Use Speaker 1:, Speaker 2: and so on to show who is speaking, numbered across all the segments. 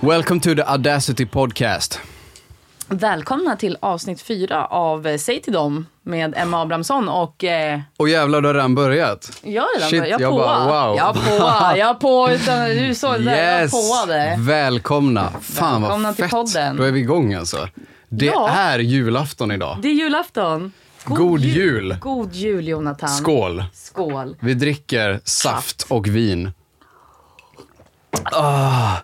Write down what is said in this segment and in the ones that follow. Speaker 1: Welcome to the Audacity Podcast.
Speaker 2: Välkomna till avsnitt fyra av eh, Säg till dem med Emma Abrahamsson och eh,
Speaker 1: Och jävlar, du har redan börjat.
Speaker 2: jag är redan
Speaker 1: Shit,
Speaker 2: jag,
Speaker 1: jag
Speaker 2: på.
Speaker 1: bara, wow.
Speaker 2: Jag på, jag på, utan du såg det där, jag påade.
Speaker 1: Välkomna. Fan
Speaker 2: Välkomna
Speaker 1: vad
Speaker 2: till
Speaker 1: fett.
Speaker 2: podden.
Speaker 1: Då är vi igång alltså. Det
Speaker 2: Ja.
Speaker 1: är julafton idag.
Speaker 2: Det är julafton.
Speaker 1: God jul.
Speaker 2: God jul Jonathan.
Speaker 1: Skål.
Speaker 2: Skål.
Speaker 1: Vi dricker saft och vin.
Speaker 2: Här kommer,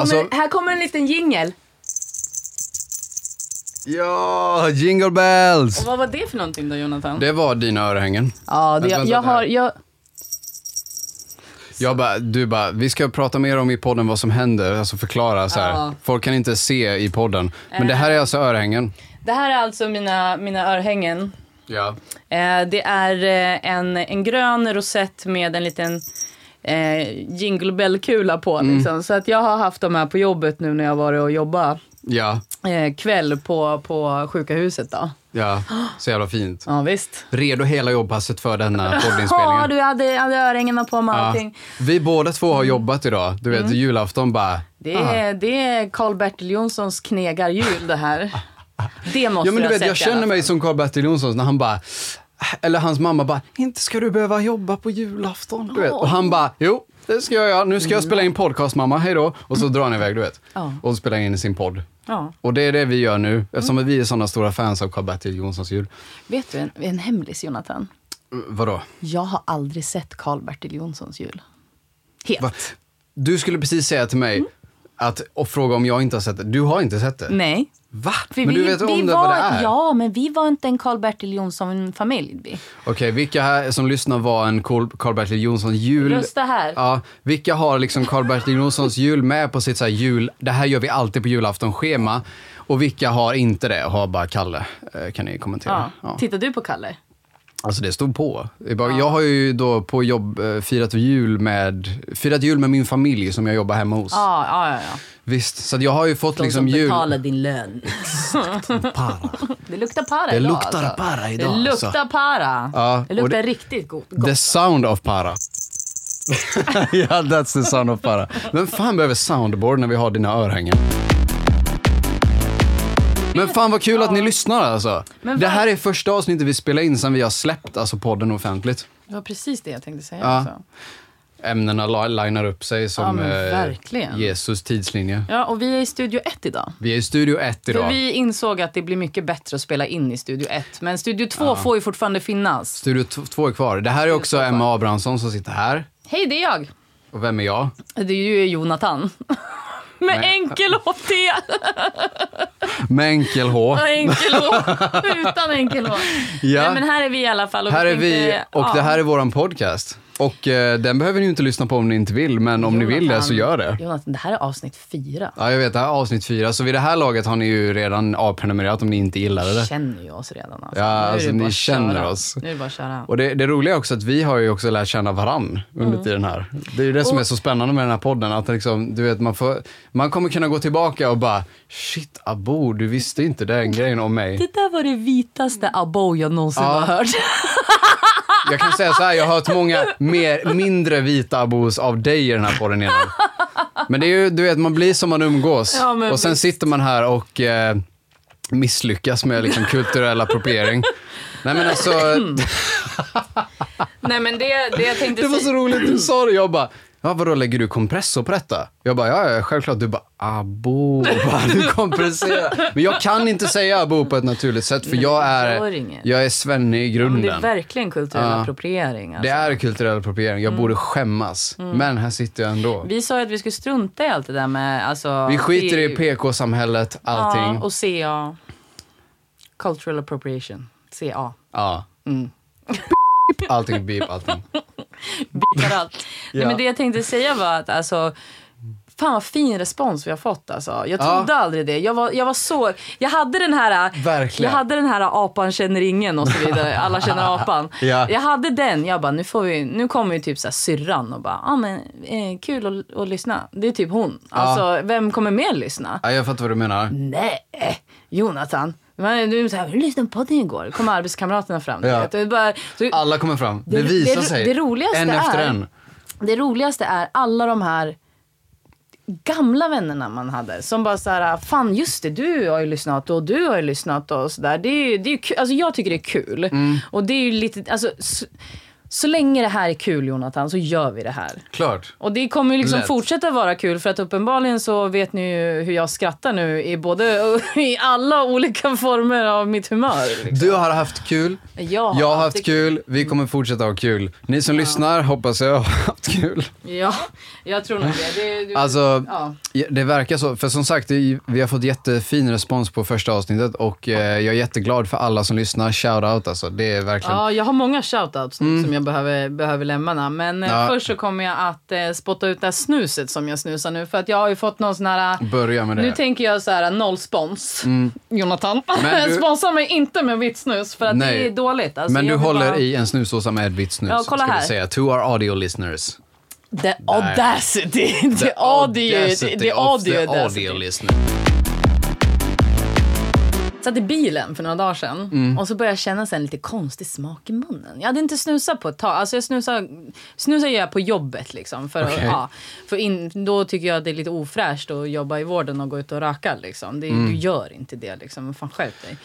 Speaker 1: Alltså-
Speaker 2: här kommer en liten jingel.
Speaker 1: Ja, jingle bells.
Speaker 2: Och vad var det för någonting då Jonathan?
Speaker 1: Det var dina örhängen.
Speaker 2: ja,
Speaker 1: Vänta,
Speaker 2: det, jag,
Speaker 1: vänta,
Speaker 2: jag
Speaker 1: det här.
Speaker 2: har, jag,
Speaker 1: Jag bara, du bara, vi ska prata mer om i podden vad som händer, alltså förklara så här.
Speaker 2: Ja. Eh.
Speaker 1: Folk kan inte se i podden. Men det här är alltså örhängen.
Speaker 2: det här är alltså mina, mina örhängen.
Speaker 1: Ja.
Speaker 2: Eh, det är eh, en, en grön rosett med en liten eh, jingle bell-kula på. Liksom. Så att jag har haft dem här på jobbet nu när jag varit och jobbat
Speaker 1: Ja,
Speaker 2: eh, kväll på, på sjuka huset. Då.
Speaker 1: ja. Så jävla fint.
Speaker 2: Ja, visst.
Speaker 1: Redo hela jobbpasset för denna poddinspelningen.
Speaker 2: Ja, du hade, jag hade örhängena på mig och
Speaker 1: Ja.
Speaker 2: allting. Mm.
Speaker 1: Vi båda två har jobbat idag. Du vet, julafton bara...
Speaker 2: Det
Speaker 1: ah.
Speaker 2: är, det är Carl-Bertil Jonssons knegarjul det här. Det måste
Speaker 1: Ja, men du
Speaker 2: ha
Speaker 1: vet,
Speaker 2: sett
Speaker 1: jag
Speaker 2: i alla
Speaker 1: känner mig
Speaker 2: fall.
Speaker 1: som Karl-Bertil Jonsson när han bara... Eller hans mamma bara, inte ska du behöva jobba på julafton. Du vet. Och han bara, jo, det ska jag göra. Nu ska jag spela in podcast mamma, hej då. Och så drar han iväg, du vet.
Speaker 2: Ja.
Speaker 1: Och spelar in sin podd.
Speaker 2: Ja. Mm.
Speaker 1: Och det är det vi gör nu, eftersom vi är sådana stora fans av Karl-Bertil Jonssons jul.
Speaker 2: Vet du en, en hemlis, Jonathan?
Speaker 1: Uh, Vadå?
Speaker 2: Jag har aldrig sett Carl-Bertil Jonssons jul. Helt.
Speaker 1: Va? Du skulle precis säga till mig att, och fråga om jag inte har sett det. Du har inte sett det?
Speaker 2: Nej.
Speaker 1: Va?
Speaker 2: För
Speaker 1: men
Speaker 2: vi,
Speaker 1: du vet
Speaker 2: vi
Speaker 1: om det,
Speaker 2: var,
Speaker 1: vad det är?
Speaker 2: Ja, men vi var inte en Karl-Bertil Jonsson-familj. vi.
Speaker 1: Okej, vilka här som lyssnar var en Carl- Carl-Bertil Jonsson jul?
Speaker 2: Rösta här.
Speaker 1: Ja, vilka har liksom Carl-Bertil Jonssons jul med på sitt så här jul, det här gör vi alltid på julafton-schema. Och vilka har inte det och har bara Kalle? Eh, Kan ni kommentera?
Speaker 2: Ja.
Speaker 1: Ja.
Speaker 2: Tittar du på Kalle?
Speaker 1: Alltså det stod på. Det är bara- Jag har ju då på jobb eh, firat jul med, firat jul med min familj som jag jobbar hemma hos.
Speaker 2: Ja, ja, ja. ja.
Speaker 1: Visst, så att jag har ju fått
Speaker 2: De
Speaker 1: liksom
Speaker 2: som
Speaker 1: jul.
Speaker 2: betalar din lön.
Speaker 1: Para.
Speaker 2: Det luktar para
Speaker 1: Det
Speaker 2: idag.
Speaker 1: luktar
Speaker 2: alltså.
Speaker 1: para idag,
Speaker 2: Det luktar
Speaker 1: alltså.
Speaker 2: para.
Speaker 1: Ja, och
Speaker 2: det luktar
Speaker 1: det-
Speaker 2: riktigt gott. gott.
Speaker 1: The sound of para. yeah, that's the sound of para. Vem fan behöver soundboard när vi har dina örhängen? Men fan vad kul att ni lyssnar alltså.
Speaker 2: Men
Speaker 1: det
Speaker 2: vad-
Speaker 1: här är första avsnittet vi spelar in sen vi har släppt alltså podden offentligt.
Speaker 2: Det var precis det jag tänkte säga.
Speaker 1: Ja.
Speaker 2: Också.
Speaker 1: Ämnena li- linar upp sig som
Speaker 2: men
Speaker 1: eh,
Speaker 2: verkligen.
Speaker 1: Jesus tidslinje.
Speaker 2: ja, och vi är i Studio 1 idag.
Speaker 1: Vi är i studio ett
Speaker 2: För
Speaker 1: idag.
Speaker 2: vi insåg att det blir mycket bättre att spela in i Studio 1. Men Studio 2 får ju fortfarande finnas.
Speaker 1: Studio t- två är kvar. Det här är också
Speaker 2: två är kvar.
Speaker 1: Emma Abrahamsson som sitter här.
Speaker 2: Hej, det är jag.
Speaker 1: Och vem är jag?
Speaker 2: Det är ju Jonathan. Med
Speaker 1: Nej.
Speaker 2: enkel HT.
Speaker 1: Med enkel H.
Speaker 2: Utan enkel H. Utan enkel H.
Speaker 1: Ja.
Speaker 2: Nej, men här är vi i alla fall. Och
Speaker 1: Här är
Speaker 2: tänkte-
Speaker 1: vi och
Speaker 2: ja.
Speaker 1: det här är våran podcast. Och eh, den behöver ni ju inte lyssna på om ni inte vill, men om ni vill det så gör det.
Speaker 2: Jonathan, det här är avsnitt fyra.
Speaker 1: Ja, jag vet, det här är avsnitt fyra, så vid det här laget har ni ju redan avprenumererat om ni inte gillade
Speaker 2: Ni
Speaker 1: det.
Speaker 2: känner ju oss redan. Alltså.
Speaker 1: Ja,
Speaker 2: Nu är det
Speaker 1: alltså,
Speaker 2: bara
Speaker 1: ni
Speaker 2: att
Speaker 1: känner
Speaker 2: köra.
Speaker 1: oss.
Speaker 2: Nu är det bara att köra.
Speaker 1: Och det, det roliga är också att vi har ju också lärt känna varann under tiden här. Det är ju det som är så spännande med den här podden, att liksom, du vet, man, får, man kommer kunna gå tillbaka och bara “Shit, Abo, du visste inte den grejen om mig”.
Speaker 2: Det där var det vitaste abo jag någonsin har hört.
Speaker 1: Jag kan säga så här, jag har hört många mer, mindre vita abos av dig i den här podden innan. Men det är ju, du vet, man blir som man umgås.
Speaker 2: Ja, men
Speaker 1: och sen
Speaker 2: visst.
Speaker 1: sitter man här och eh, misslyckas med liksom, kulturell appropriering. Nej men alltså,
Speaker 2: Nej, men det, det jag tänkte
Speaker 1: det var så
Speaker 2: säga.
Speaker 1: roligt du sa det. Jag bara, ja vadå lägger du kompressor på detta? Jag bara, ja ja, självklart. Du bara, abo, vad du kompresserar. Men jag kan inte säga abo på ett naturligt sätt för
Speaker 2: Nej,
Speaker 1: jag
Speaker 2: det gör
Speaker 1: är,
Speaker 2: inget.
Speaker 1: jag är svenne i
Speaker 2: Men
Speaker 1: grunden.
Speaker 2: det är verkligen kulturell
Speaker 1: Ja.
Speaker 2: appropriering. Alltså. Mm.
Speaker 1: Det är kulturell appropriering. Jag borde skämmas. Men här sitter jag ändå. Vi,
Speaker 2: Vi sa ju att vi skulle strunta i allt det där med... Alltså,
Speaker 1: skiter i PK-samhället, allting.
Speaker 2: Ja, och CA. Cultural appropriation. CA.
Speaker 1: Ja. Allting, beep, allting.
Speaker 2: överallt. Nej,
Speaker 1: Ja.
Speaker 2: men det jag tänkte säga var att alltså, Fan vad fin respons vi har fått alltså. Jag
Speaker 1: Ja.
Speaker 2: trodde aldrig det. Jag var, jag var så... Jag hade den här...
Speaker 1: Verkligen.
Speaker 2: Jag hade den här apan känner ingen och så vidare. Alla känner apan.
Speaker 1: Ja.
Speaker 2: Jag hade den. Jag bara, nu, får vi, nu kommer ju typ så här syrran och bara, ah, men eh, kul att, att lyssna. Det är typ hon. Alltså, vem kommer mer lyssna?
Speaker 1: Ja, jag fattar vad du menar.
Speaker 2: Nej, Jonathan. Men Du så här, lyssnade på podden igår. kommer arbetskamraterna fram.
Speaker 1: Ja.
Speaker 2: Ja. Det, är bara, så,
Speaker 1: Alla kommer fram. Det,
Speaker 2: det-
Speaker 1: visar
Speaker 2: det-
Speaker 1: sig.
Speaker 2: det roligaste
Speaker 1: en efter
Speaker 2: är-
Speaker 1: en.
Speaker 2: det roligaste är alla de här gamla vännerna man hade. Som bara så här, fan just det, du har ju lyssnat och du har ju lyssnat och sådär. Det är ju, det är ju kul. Alltså jag tycker det är kul.
Speaker 1: Mm.
Speaker 2: Och det är ju lite, alltså så, så länge det här är kul Jonathan så gör vi det här.
Speaker 1: Klart.
Speaker 2: Och det kommer ju liksom
Speaker 1: Lätt.
Speaker 2: fortsätta vara kul för att uppenbarligen så vet ni ju hur jag skrattar nu i både i alla olika former av mitt humör. Liksom.
Speaker 1: Du har haft kul.
Speaker 2: Jag har
Speaker 1: Jag har haft
Speaker 2: haft
Speaker 1: kul. Vi kommer fortsätta ha kul. Ni som lyssnar hoppas jag har haft kul.
Speaker 2: Ja, jag tror nog det. det, det
Speaker 1: Alltså,
Speaker 2: ja.
Speaker 1: Ja, Det verkar så. För som sagt, det- vi har fått jättefin respons på första avsnittet och eh, jag är jätteglad för alla som lyssnar. Shout out alltså. Det är verkligen...
Speaker 2: Ja, jag har många shoutouts nu som jag behöver, behöver lämna. Men eh,
Speaker 1: Mm. Ja.
Speaker 2: först så kommer jag att eh, spotta ut det här snuset som jag snusar nu. För att jag har ju fått någon sån här... eh,
Speaker 1: Börja med det.
Speaker 2: Nu tänker jag så här, noll spons. Jonathan,
Speaker 1: Mm. Men du-
Speaker 2: sponsra mig inte med mitt snus för att
Speaker 1: Nej.
Speaker 2: det är dåligt. Alltså,
Speaker 1: Men du
Speaker 2: jag vill
Speaker 1: håller
Speaker 2: bara-
Speaker 1: i en snusdåsa med ett vitt snus.
Speaker 2: Ja, kolla
Speaker 1: ska
Speaker 2: här.
Speaker 1: vi säga. To our audio listeners.
Speaker 2: The audacity! The, audio!
Speaker 1: audacity
Speaker 2: the
Speaker 1: of
Speaker 2: audio,
Speaker 1: the
Speaker 2: audacity.
Speaker 1: audio listeners.
Speaker 2: Satt i bilen för några dagar sedan
Speaker 1: Mm.
Speaker 2: och så började jag känna så här en lite konstig smak i munnen. Jag hade inte snusat på ett tag. Alltså jag snusar, snusar gör jag på jobbet liksom. För, att,
Speaker 1: Okej.
Speaker 2: ja, för in, då tycker jag att det är lite ofräscht att jobba i vården och gå ut och röka liksom. Det, Du gör inte det liksom. Men Fan skärp dig.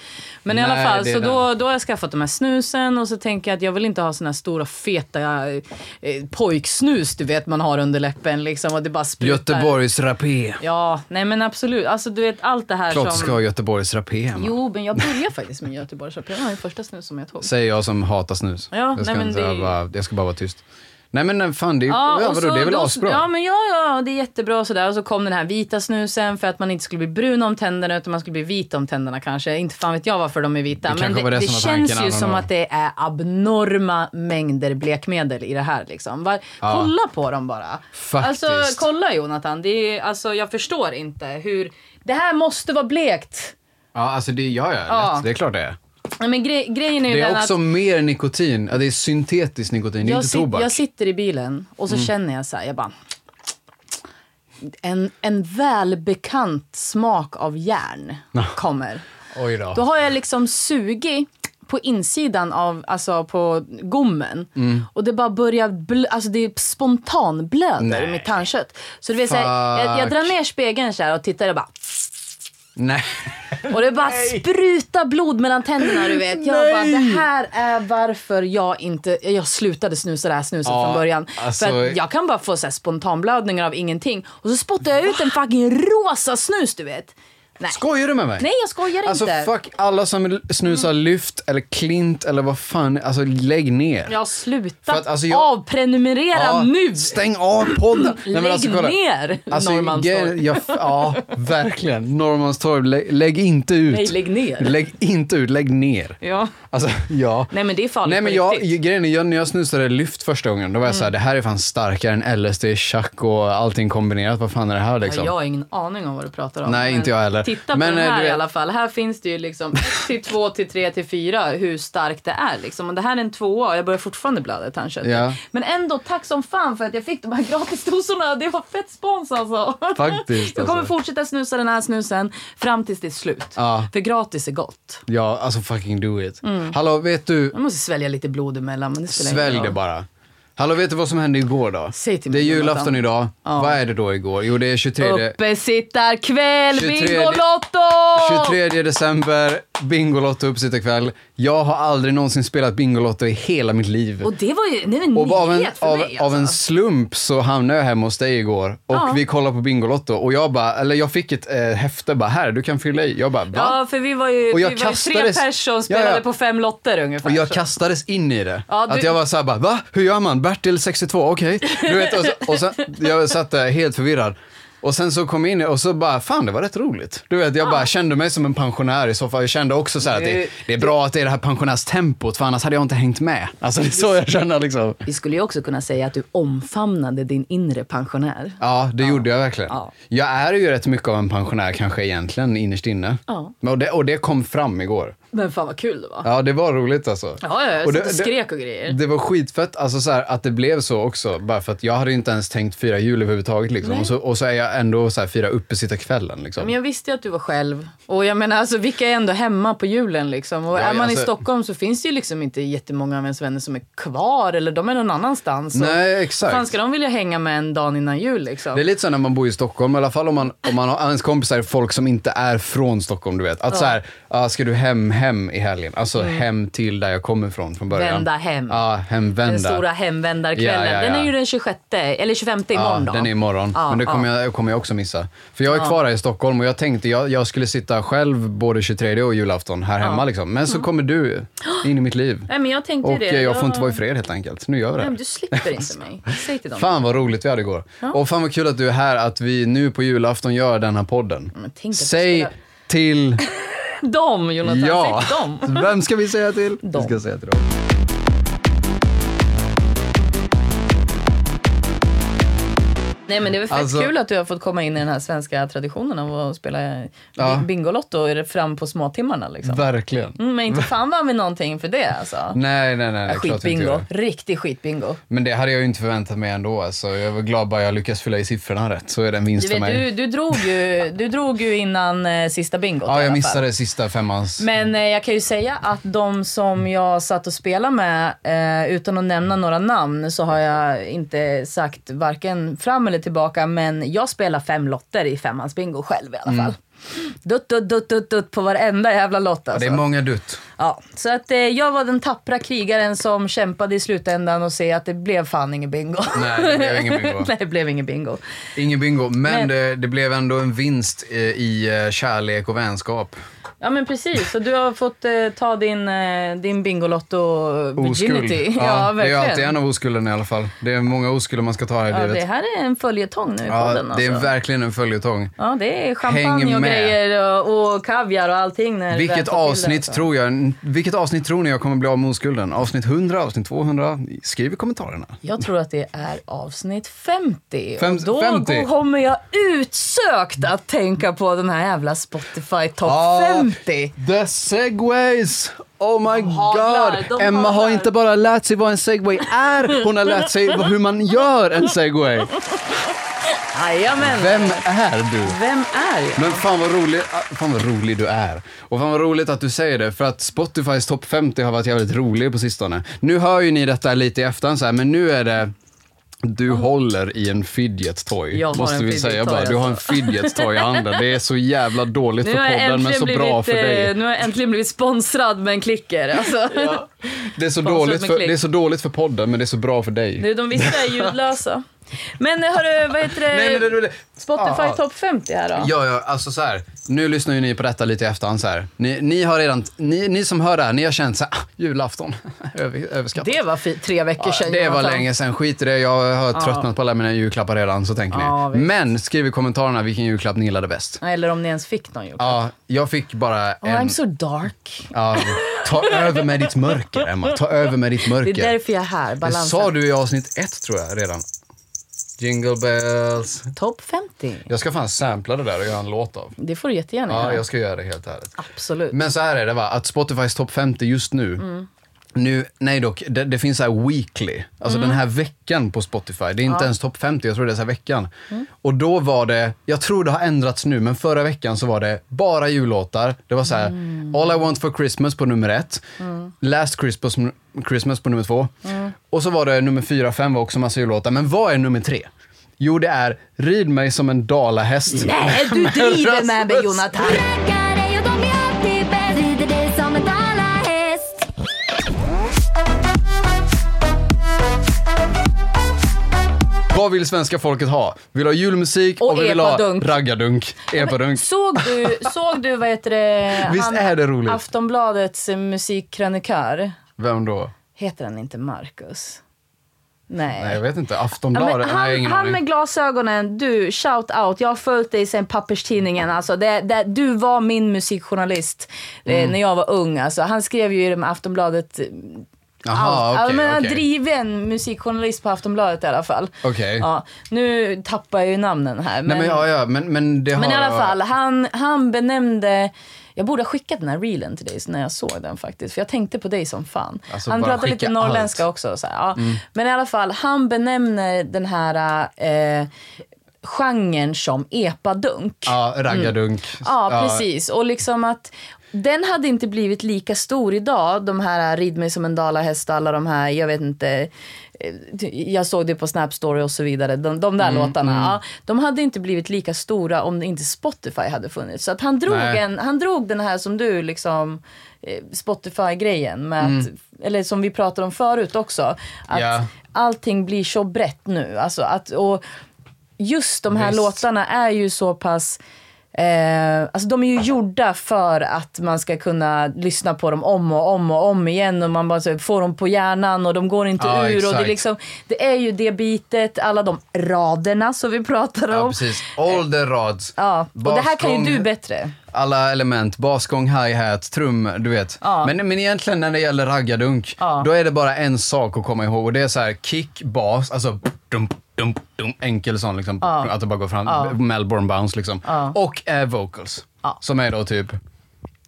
Speaker 2: Men i alla
Speaker 1: Mm. Nej,
Speaker 2: fall,
Speaker 1: det är
Speaker 2: så
Speaker 1: den.
Speaker 2: då, då har jag skaffat de här snusen och så tänker jag att jag vill inte ha såna här stora feta eh, eh, pojksnus du vet man har under läppen liksom. Och det bara sprutar.
Speaker 1: Göteborgs rapé.
Speaker 2: Ja, nej men absolut. Alltså du vet allt det här
Speaker 1: Klart du
Speaker 2: som...
Speaker 1: ska ha Göteborgs rapé. man.
Speaker 2: Jo, men jag började faktiskt med Göteborgsrap. Det var den första snus som jag tog.
Speaker 1: Säger jag som hatar snus.
Speaker 2: Ja,
Speaker 1: jag, ska
Speaker 2: nej, men
Speaker 1: inte,
Speaker 2: det-
Speaker 1: jag, bara, jag ska bara vara tyst. Nej men nej, fan, det är, ju- ja,
Speaker 2: och
Speaker 1: vadå,
Speaker 2: så-
Speaker 1: det är väl
Speaker 2: då-
Speaker 1: asbra?
Speaker 2: Ja, men ja, ja, det är jättebra och sådär. Och så kom den här vita snusen för att man inte skulle bli brun om tänderna utan man skulle bli vit om tänderna kanske. Inte fan vet jag varför de är vita. men
Speaker 1: kanske
Speaker 2: det,
Speaker 1: var det
Speaker 2: det
Speaker 1: som var
Speaker 2: känns
Speaker 1: tanken,
Speaker 2: ju
Speaker 1: I don't
Speaker 2: som
Speaker 1: know.
Speaker 2: att det är abnorma mängder blekmedel i det här liksom. Var,
Speaker 1: Ja.
Speaker 2: Kolla på dem bara.
Speaker 1: Faktiskt.
Speaker 2: Alltså kolla Jonathan, det är, alltså, jag förstår inte hur... Det här måste vara blekt.
Speaker 1: Ja, alltså det gör jag.
Speaker 2: Ja.
Speaker 1: Lätt. Det är klart det är.
Speaker 2: Nej, Men gre- grejen är ju
Speaker 1: Det
Speaker 2: den
Speaker 1: är också
Speaker 2: att...
Speaker 1: mer nikotin. Ja, det är syntetiskt nikotin, det är
Speaker 2: jag,
Speaker 1: inte
Speaker 2: sit-
Speaker 1: tobak. Mm.
Speaker 2: jag sitter i bilen och så känner jag så här, jag bara... En, en välbekant smak av järn kommer.
Speaker 1: Oj då.
Speaker 2: Då har jag liksom sugit på insidan av, alltså på gommen.
Speaker 1: Mm.
Speaker 2: Och det bara börjar, bl- alltså det spontanblöder i
Speaker 1: Nej.
Speaker 2: mitt tandkött. Så du vet såhär, jag, jag
Speaker 1: Fuck.
Speaker 2: drar ner spegeln så här och tittar och bara...
Speaker 1: Nej.
Speaker 2: Och det bara sprutar blod mellan tänderna du vet. Jag
Speaker 1: Nej.
Speaker 2: bara, det här är varför jag inte, jag slutade snusa det här snuset
Speaker 1: Ja,
Speaker 2: från början.
Speaker 1: alltså-
Speaker 2: För att jag kan bara få så här spontanblödningar av ingenting. Och så spottar jag ut en fucking rosa snus du vet. Nej,
Speaker 1: Skojar du med mig?
Speaker 2: Nej jag skojar
Speaker 1: Alltså
Speaker 2: inte. Mm.
Speaker 1: fuck alla som snusar lyft eller klint eller vad fan, alltså lägg ner.
Speaker 2: Jag har slutat
Speaker 1: För att, alltså, jag-
Speaker 2: avprenumerera
Speaker 1: Ja,
Speaker 2: nu.
Speaker 1: Stäng av podden! Nej, men
Speaker 2: Lägg
Speaker 1: alltså, kolla.
Speaker 2: ner
Speaker 1: Alltså,
Speaker 2: Norrmalmstorg.
Speaker 1: jag- jag- Ja, verkligen. Norrmalmstorg, lä, lägg inte ut.
Speaker 2: Nej, lägg ner.
Speaker 1: Lägg inte ut, lägg ner.
Speaker 2: Ja.
Speaker 1: Alltså, ja.
Speaker 2: Nej men det är farligt
Speaker 1: Nej men
Speaker 2: på
Speaker 1: jag,
Speaker 2: riktigt. Mm.
Speaker 1: grejen är, jag- när jag snusade lyft första gången, då var jag så såhär, det här är fan starkare än LSD, chack och allting kombinerat. Vad fan är det här liksom?
Speaker 2: Jag har ingen aning om vad du pratar om.
Speaker 1: Nej,
Speaker 2: Men
Speaker 1: inte jag heller.
Speaker 2: Titta på
Speaker 1: Men,
Speaker 2: den
Speaker 1: eh,
Speaker 2: här
Speaker 1: du
Speaker 2: i
Speaker 1: vet-
Speaker 2: alla fall. Här finns det ju liksom 1 till 2 till 3 till 4 hur starkt det är. Liksom. Och det här är en tvåa och jag börjar fortfarande blöda i tandköttet.
Speaker 1: Ja.
Speaker 2: Men ändå, tack som fan för att jag fick de här gratisdosorna. Det var fett spons alltså.
Speaker 1: Faktiskt,
Speaker 2: Jag kommer
Speaker 1: alltså.
Speaker 2: fortsätta snusa den här snusen fram tills det är slut.
Speaker 1: Ja.
Speaker 2: För gratis är gott.
Speaker 1: Ja, alltså fucking do it.
Speaker 2: Mm.
Speaker 1: Hallå, vet du?
Speaker 2: Jag måste svälja lite blod emellan men det spelar ingen
Speaker 1: Svälj
Speaker 2: roll.
Speaker 1: det bara. Hallå, vet du vad som hände igår då?
Speaker 2: Säg till
Speaker 1: det är
Speaker 2: mig,
Speaker 1: julafton
Speaker 2: Jonathan.
Speaker 1: idag. Vad är det då igår? Jo, det är 23...
Speaker 2: Uppesittarkväll,
Speaker 1: 23
Speaker 2: Bingolotto!
Speaker 1: 23 december, Bingolotto uppesittarkväll. Jag har aldrig någonsin spelat Bingolotto i hela mitt liv.
Speaker 2: Och det var ju det var en
Speaker 1: Och av en,
Speaker 2: nyhet för
Speaker 1: av,
Speaker 2: mig.
Speaker 1: av en
Speaker 2: alltså.
Speaker 1: slump så hamnade jag hemma hos dig igår och
Speaker 2: Ja.
Speaker 1: vi kollade på Bingolotto och jag bara, eller jag fick ett eh, häfte bara här, du kan fylla i. Jag bara, va?
Speaker 2: Ja, för vi var ju,
Speaker 1: Och jag
Speaker 2: vi var ju tre
Speaker 1: kastades-
Speaker 2: personer som spelade
Speaker 1: Ja, ja.
Speaker 2: på fem lotter ungefär.
Speaker 1: Och jag
Speaker 2: så.
Speaker 1: kastades in i det.
Speaker 2: Ja,
Speaker 1: Att
Speaker 2: du-
Speaker 1: jag var såhär bara, va? Hur gör man? Bertil 62, okej. Du vet, och, så, och sen, jag satt där helt förvirrad. Och sen så kom jag in och så bara, fan det var rätt roligt. Du vet, jag bara kände mig som en pensionär i så fall. Jag kände också så här att det,
Speaker 2: Ah. Du-
Speaker 1: det är bra att det är det här pensionärstempot, för annars hade jag inte hängt med. Alltså det är så jag känner liksom.
Speaker 2: Vi skulle ju också kunna säga att du omfamnade din inre pensionär.
Speaker 1: Ja, det gjorde jag verkligen.
Speaker 2: Ja.
Speaker 1: Jag är ju rätt mycket av en pensionär kanske egentligen, innerst inne.
Speaker 2: Ja.
Speaker 1: Men- Och, det, och det kom fram igår.
Speaker 2: Men fan vad kul det var.
Speaker 1: Ja, det var roligt alltså.
Speaker 2: Ja, ja, jag
Speaker 1: Och det-
Speaker 2: satt och
Speaker 1: det-
Speaker 2: skrek och grejer.
Speaker 1: Det var skitfett alltså så här, att det blev så också. Bara för att jag hade ju inte ens tänkt fira jul överhuvudtaget. Liksom.
Speaker 2: Nej.
Speaker 1: Och, så, och så är jag ändå så här, fira uppesittarkvällen. Liksom.
Speaker 2: Men jag visste ju att du var själv. Och jag menar, alltså, vilka är ändå hemma på julen liksom? Och
Speaker 1: Ja,
Speaker 2: är man i
Speaker 1: alltså-
Speaker 2: Stockholm så finns det ju liksom inte jättemånga av ens vänner som är kvar eller de är någon annanstans. Och
Speaker 1: Nej,
Speaker 2: fan
Speaker 1: exakt.
Speaker 2: ska de vilja hänga med en dag innan jul liksom?
Speaker 1: Det är lite så när man bor i Stockholm, i alla fall om man, om man har ens kompisar, folk som inte är från Stockholm, du vet. Att så här, ah, ska du hem, hem i helgen? Alltså hem till där jag kommer ifrån från början.
Speaker 2: Mm. Vända hem.
Speaker 1: Ja, hemvända.
Speaker 2: Den stora hemvändarkvällen.
Speaker 1: Ja, ja, ja.
Speaker 2: Den är ju den 26, eller 25 imorgon
Speaker 1: Ja,
Speaker 2: då.
Speaker 1: den är imorgon.
Speaker 2: Ja,
Speaker 1: men det kommer,
Speaker 2: ja.
Speaker 1: jag, kommer jag också missa. För jag är kvar här i Stockholm och jag tänkte jag, jag skulle sitta själv både 23 och julafton här hemma liksom. Men så kommer du in i mitt liv.
Speaker 2: Nej men jag tänkte ju
Speaker 1: Och
Speaker 2: det.
Speaker 1: eh, jag får inte vara i fred helt enkelt. Nu gör vi det.
Speaker 2: Nej, men
Speaker 1: här.
Speaker 2: du slipper inte mig. Säg till dem.
Speaker 1: Fan vad roligt vi hade igår. Och fan vad kul att du är här, att vi nu på julafton gör den här podden.
Speaker 2: Men tänk att du
Speaker 1: Säg
Speaker 2: ska-
Speaker 1: till
Speaker 2: Dem Jonathan,
Speaker 1: ja.
Speaker 2: säg till dem.
Speaker 1: Vem ska vi säga till?
Speaker 2: Dem.
Speaker 1: Vi ska säga till dem.
Speaker 2: Nej men det är väl fett
Speaker 1: Alltså-
Speaker 2: kul att du har fått komma in i den här svenska traditionen av att spela
Speaker 1: Ja.
Speaker 2: ja. Bingolotto fram på småtimmarna liksom.
Speaker 1: Verkligen.
Speaker 2: Mm, men inte fan vann vi någonting för det alltså.
Speaker 1: Nej, nej, nej. nej klart vi inte gör
Speaker 2: Skitbingo,
Speaker 1: det.
Speaker 2: riktig skitbingo.
Speaker 1: Men det hade jag ju inte förväntat mig ändå. Alltså, jag var glad bara jag lyckas fylla i siffrorna rätt, så är det en vinst
Speaker 2: Du,
Speaker 1: för
Speaker 2: vet,
Speaker 1: mig.
Speaker 2: du, du, drog ju, du drog ju innan eh, sista bingot
Speaker 1: ja,
Speaker 2: i alla
Speaker 1: jag
Speaker 2: fall.
Speaker 1: missade sista femmans.
Speaker 2: Men eh, jag kan ju säga att de som jag satt och spelade med, eh, utan att nämna några namn, så har jag inte sagt varken fram eller tillbaka. Men jag spelar fem lotter i femmans bingo själv i alla
Speaker 1: Mm.
Speaker 2: fall. Dutt, dutt, dutt, dutt, dutt på varenda jävla lott
Speaker 1: det
Speaker 2: alltså.
Speaker 1: är många dutt.
Speaker 2: ja, så att eh, jag var den tappra krigaren som kämpade i slutändan och se att det blev fan ingen bingo.
Speaker 1: Nej, det blev ingen bingo.
Speaker 2: Nej, det blev ingen bingo.
Speaker 1: Ingen bingo, men,
Speaker 2: Men-
Speaker 1: Det, det blev ändå en vinst eh, i eh, kärlek och vänskap.
Speaker 2: Ja men precis, så du har fått eh, ta din, eh, din Bingolotto
Speaker 1: Oskuld.
Speaker 2: virginity.
Speaker 1: det är ju alltid en av oskulderna i alla fall. Det är många oskulder man ska ta här i
Speaker 2: Ja,
Speaker 1: livet.
Speaker 2: det här är en följetong nu i
Speaker 1: Ja,
Speaker 2: podden.
Speaker 1: det är
Speaker 2: alltså.
Speaker 1: verkligen en följetong.
Speaker 2: Ja, det är
Speaker 1: Häng
Speaker 2: champagne och
Speaker 1: med.
Speaker 2: grejer och, och kaviar och allting. När det väl
Speaker 1: Vilket
Speaker 2: tar till
Speaker 1: avsnitt,
Speaker 2: det, alltså.
Speaker 1: tror jag, vilket avsnitt tror ni jag kommer bli av med oskulden? Avsnitt 100, avsnitt 200? Skriv i kommentarerna.
Speaker 2: Jag tror att det är avsnitt 50.
Speaker 1: Fem-
Speaker 2: och då
Speaker 1: 50.
Speaker 2: kommer jag utsökt att tänka på den här jävla Spotify Top
Speaker 1: Ja.
Speaker 2: 50.
Speaker 1: The segways! Oh my
Speaker 2: haglar,
Speaker 1: god!
Speaker 2: de
Speaker 1: Emma har
Speaker 2: haglar.
Speaker 1: inte bara lärt sig vad en segway är, hon har lärt sig vad- hur man gör en segway.
Speaker 2: Jajamän.
Speaker 1: Vem är du?
Speaker 2: Vem är jag?
Speaker 1: Men fan vad, rolig, ah, fan vad rolig du är. Och fan vad roligt att du säger det, för att Spotifys topp 50 har varit jävligt rolig på sistone. Nu hör ju ni detta lite i efterhand så här, men nu är det du håller i en fidget toy.
Speaker 2: Jag har
Speaker 1: måste
Speaker 2: en
Speaker 1: vi
Speaker 2: fidget
Speaker 1: säga
Speaker 2: toy,
Speaker 1: bara. Du har en
Speaker 2: alltså.
Speaker 1: fidget toy i handen. Det är så jävla dåligt för podden men så bra för dig.
Speaker 2: eh, nu har jag äntligen blivit sponsrad med en klicker. Alltså.
Speaker 1: Det är, så
Speaker 2: Sponsrat
Speaker 1: dåligt
Speaker 2: med
Speaker 1: för,
Speaker 2: klick.
Speaker 1: det är så dåligt för podden men det är så bra för dig.
Speaker 2: Nu, de vissa är ljudlösa. Men eh, hörru, vad heter det?
Speaker 1: Nej, men det- det- det-
Speaker 2: Spotify
Speaker 1: Ah, ah.
Speaker 2: Top 50 här då?
Speaker 1: Ja, ja, alltså så här. Nu lyssnar ju ni på detta lite i efterhand så här. Ni, ni har redan, ni, ni som hör det här, ni har känt så här, ah, julafton, över, överskattat.
Speaker 2: Det var fi- tre veckor sedan.
Speaker 1: det var
Speaker 2: Jonathan.
Speaker 1: länge sedan, skit i det. Jag har tröttnat på alla mina julklappar redan, så tänker
Speaker 2: Ja,
Speaker 1: ni.
Speaker 2: visst.
Speaker 1: Men skriv i kommentarerna vilken julklapp ni gillade bäst.
Speaker 2: Eller om ni ens fick någon julklapp.
Speaker 1: Ja, jag fick bara
Speaker 2: Oh, I'm
Speaker 1: en...
Speaker 2: so dark.
Speaker 1: Ja, ta över med ditt mörker, Emma. Ta över med ditt
Speaker 2: Det
Speaker 1: mörker.
Speaker 2: är därför jag är här.
Speaker 1: Det
Speaker 2: Balansen.
Speaker 1: sa du i avsnitt ett, tror jag, redan. Jingle bells.
Speaker 2: Topp 50.
Speaker 1: Jag ska fan sampla det där och göra en låt av.
Speaker 2: Det får du jättegärna
Speaker 1: Ja,
Speaker 2: göra.
Speaker 1: jag ska göra det helt ärligt.
Speaker 2: Absolut.
Speaker 1: Men så här är det va, att Spotifys topp 50 just nu, nu, nej dock, det, det finns så här weekly, alltså den här veckan på Spotify. Det är inte ens topp 50, jag tror det är så här veckan. Och då var det, jag tror det har ändrats nu, men förra veckan så var det bara jullåtar. Det var så här,
Speaker 2: Mm.
Speaker 1: All I want for Christmas på nummer ett, Last Christmas, Christmas på nummer två.
Speaker 2: Mm.
Speaker 1: Och så var det nummer fyra, fem var också massa jullåtar. Men vad är nummer tre? Jo, det är Rid mig som en dalahäst.
Speaker 2: Nej, du driver med mig
Speaker 1: Rasmus.
Speaker 2: Jonathan.
Speaker 3: Rackar dig och de är alltid bäst. Rider dig som en dalahäst.
Speaker 1: Vad vill svenska folket ha? Vill ha julmusik och,
Speaker 2: Och
Speaker 1: vi vill ha
Speaker 2: epadunk.
Speaker 1: raggardunk. Epadunk.
Speaker 2: Såg du, såg du vad heter det?
Speaker 1: Visst är det roligt?
Speaker 2: Aftonbladets eh, musikkrönikör.
Speaker 1: Vem då?
Speaker 2: Heter han inte Marcus? Nej.
Speaker 1: Nej, jag vet inte.
Speaker 2: Ja,
Speaker 1: Aftonbladet? Nej,
Speaker 2: men
Speaker 1: jag har
Speaker 2: han,
Speaker 1: ingen
Speaker 2: han
Speaker 1: aning.
Speaker 2: med glasögonen, du, shout out. Jag har följt dig sen papperstidningen. Alltså, det, det, du var
Speaker 1: Mm.
Speaker 2: min musikjournalist eh, när jag var ung. Alltså, han skrev ju i det med Aftonbladet eh,
Speaker 1: Aha,
Speaker 2: Allt.
Speaker 1: okej,
Speaker 2: men jag är
Speaker 1: okej.
Speaker 2: driven musikjournalist på Aftonbladet i alla fall.
Speaker 1: Okej.
Speaker 2: Ja, nu tappar jag ju namnen här. Men,
Speaker 1: Nej men ja, ja, men, men det har...
Speaker 2: men i alla fall, han, han benämnde... Jag borde ha skickat den här reelen till dig när jag såg den faktiskt. För jag tänkte på dig som fan.
Speaker 1: Alltså,
Speaker 2: han
Speaker 1: bara
Speaker 2: pratade lite
Speaker 1: skicka
Speaker 2: norrländska
Speaker 1: allt. Mm.
Speaker 2: också. Så här, ja. Men i alla fall, han benämner den här eh, genren som epadunk.
Speaker 1: Ja, raggardunk.
Speaker 2: Mm. Ja, precis. Och liksom att den hade inte blivit lika stor idag. De här Rid mig som en dalahäst, alla de här, jag vet inte. eh, Jag såg det på Snap Story och så vidare. De, de
Speaker 1: Mm,
Speaker 2: där låtarna. Ja, de hade inte blivit lika stora om inte Spotify hade funnits. Så att han, drog
Speaker 1: Nej.
Speaker 2: en, han drog den här som du liksom eh, Spotify-grejen, med att, eller som vi pratade om förut också. Att
Speaker 1: Mm. Ja.
Speaker 2: allting blir så brett nu. Alltså att, och just de här
Speaker 1: Visst.
Speaker 2: låtarna är ju så pass Eh, alltså de är ju gjorda för att man ska kunna lyssna på dem om och om och om igen och man bara så, får dem på hjärnan och de går inte
Speaker 1: Ja,
Speaker 2: ur. Och det, är
Speaker 1: exakt.
Speaker 2: liksom, det är ju det bitet, alla de raderna som vi pratar om.
Speaker 1: Ja, precis. All the rods.
Speaker 2: Eh, Ja, och det här kan ju
Speaker 1: Basgång,
Speaker 2: du bättre.
Speaker 1: Alla element, basgång, hi-hat, trum, du vet.
Speaker 2: Ja.
Speaker 1: Men, men egentligen när det gäller raggardunk,
Speaker 2: Ja.
Speaker 1: då är det bara en sak att komma ihåg och det är så här kick, bas, alltså dum, dum, dum, enkel sån liksom. Att det bara går fram, Melbourne bounce liksom.
Speaker 2: Ja.
Speaker 1: Och air vocals.
Speaker 2: Ja.
Speaker 1: Som är då typ,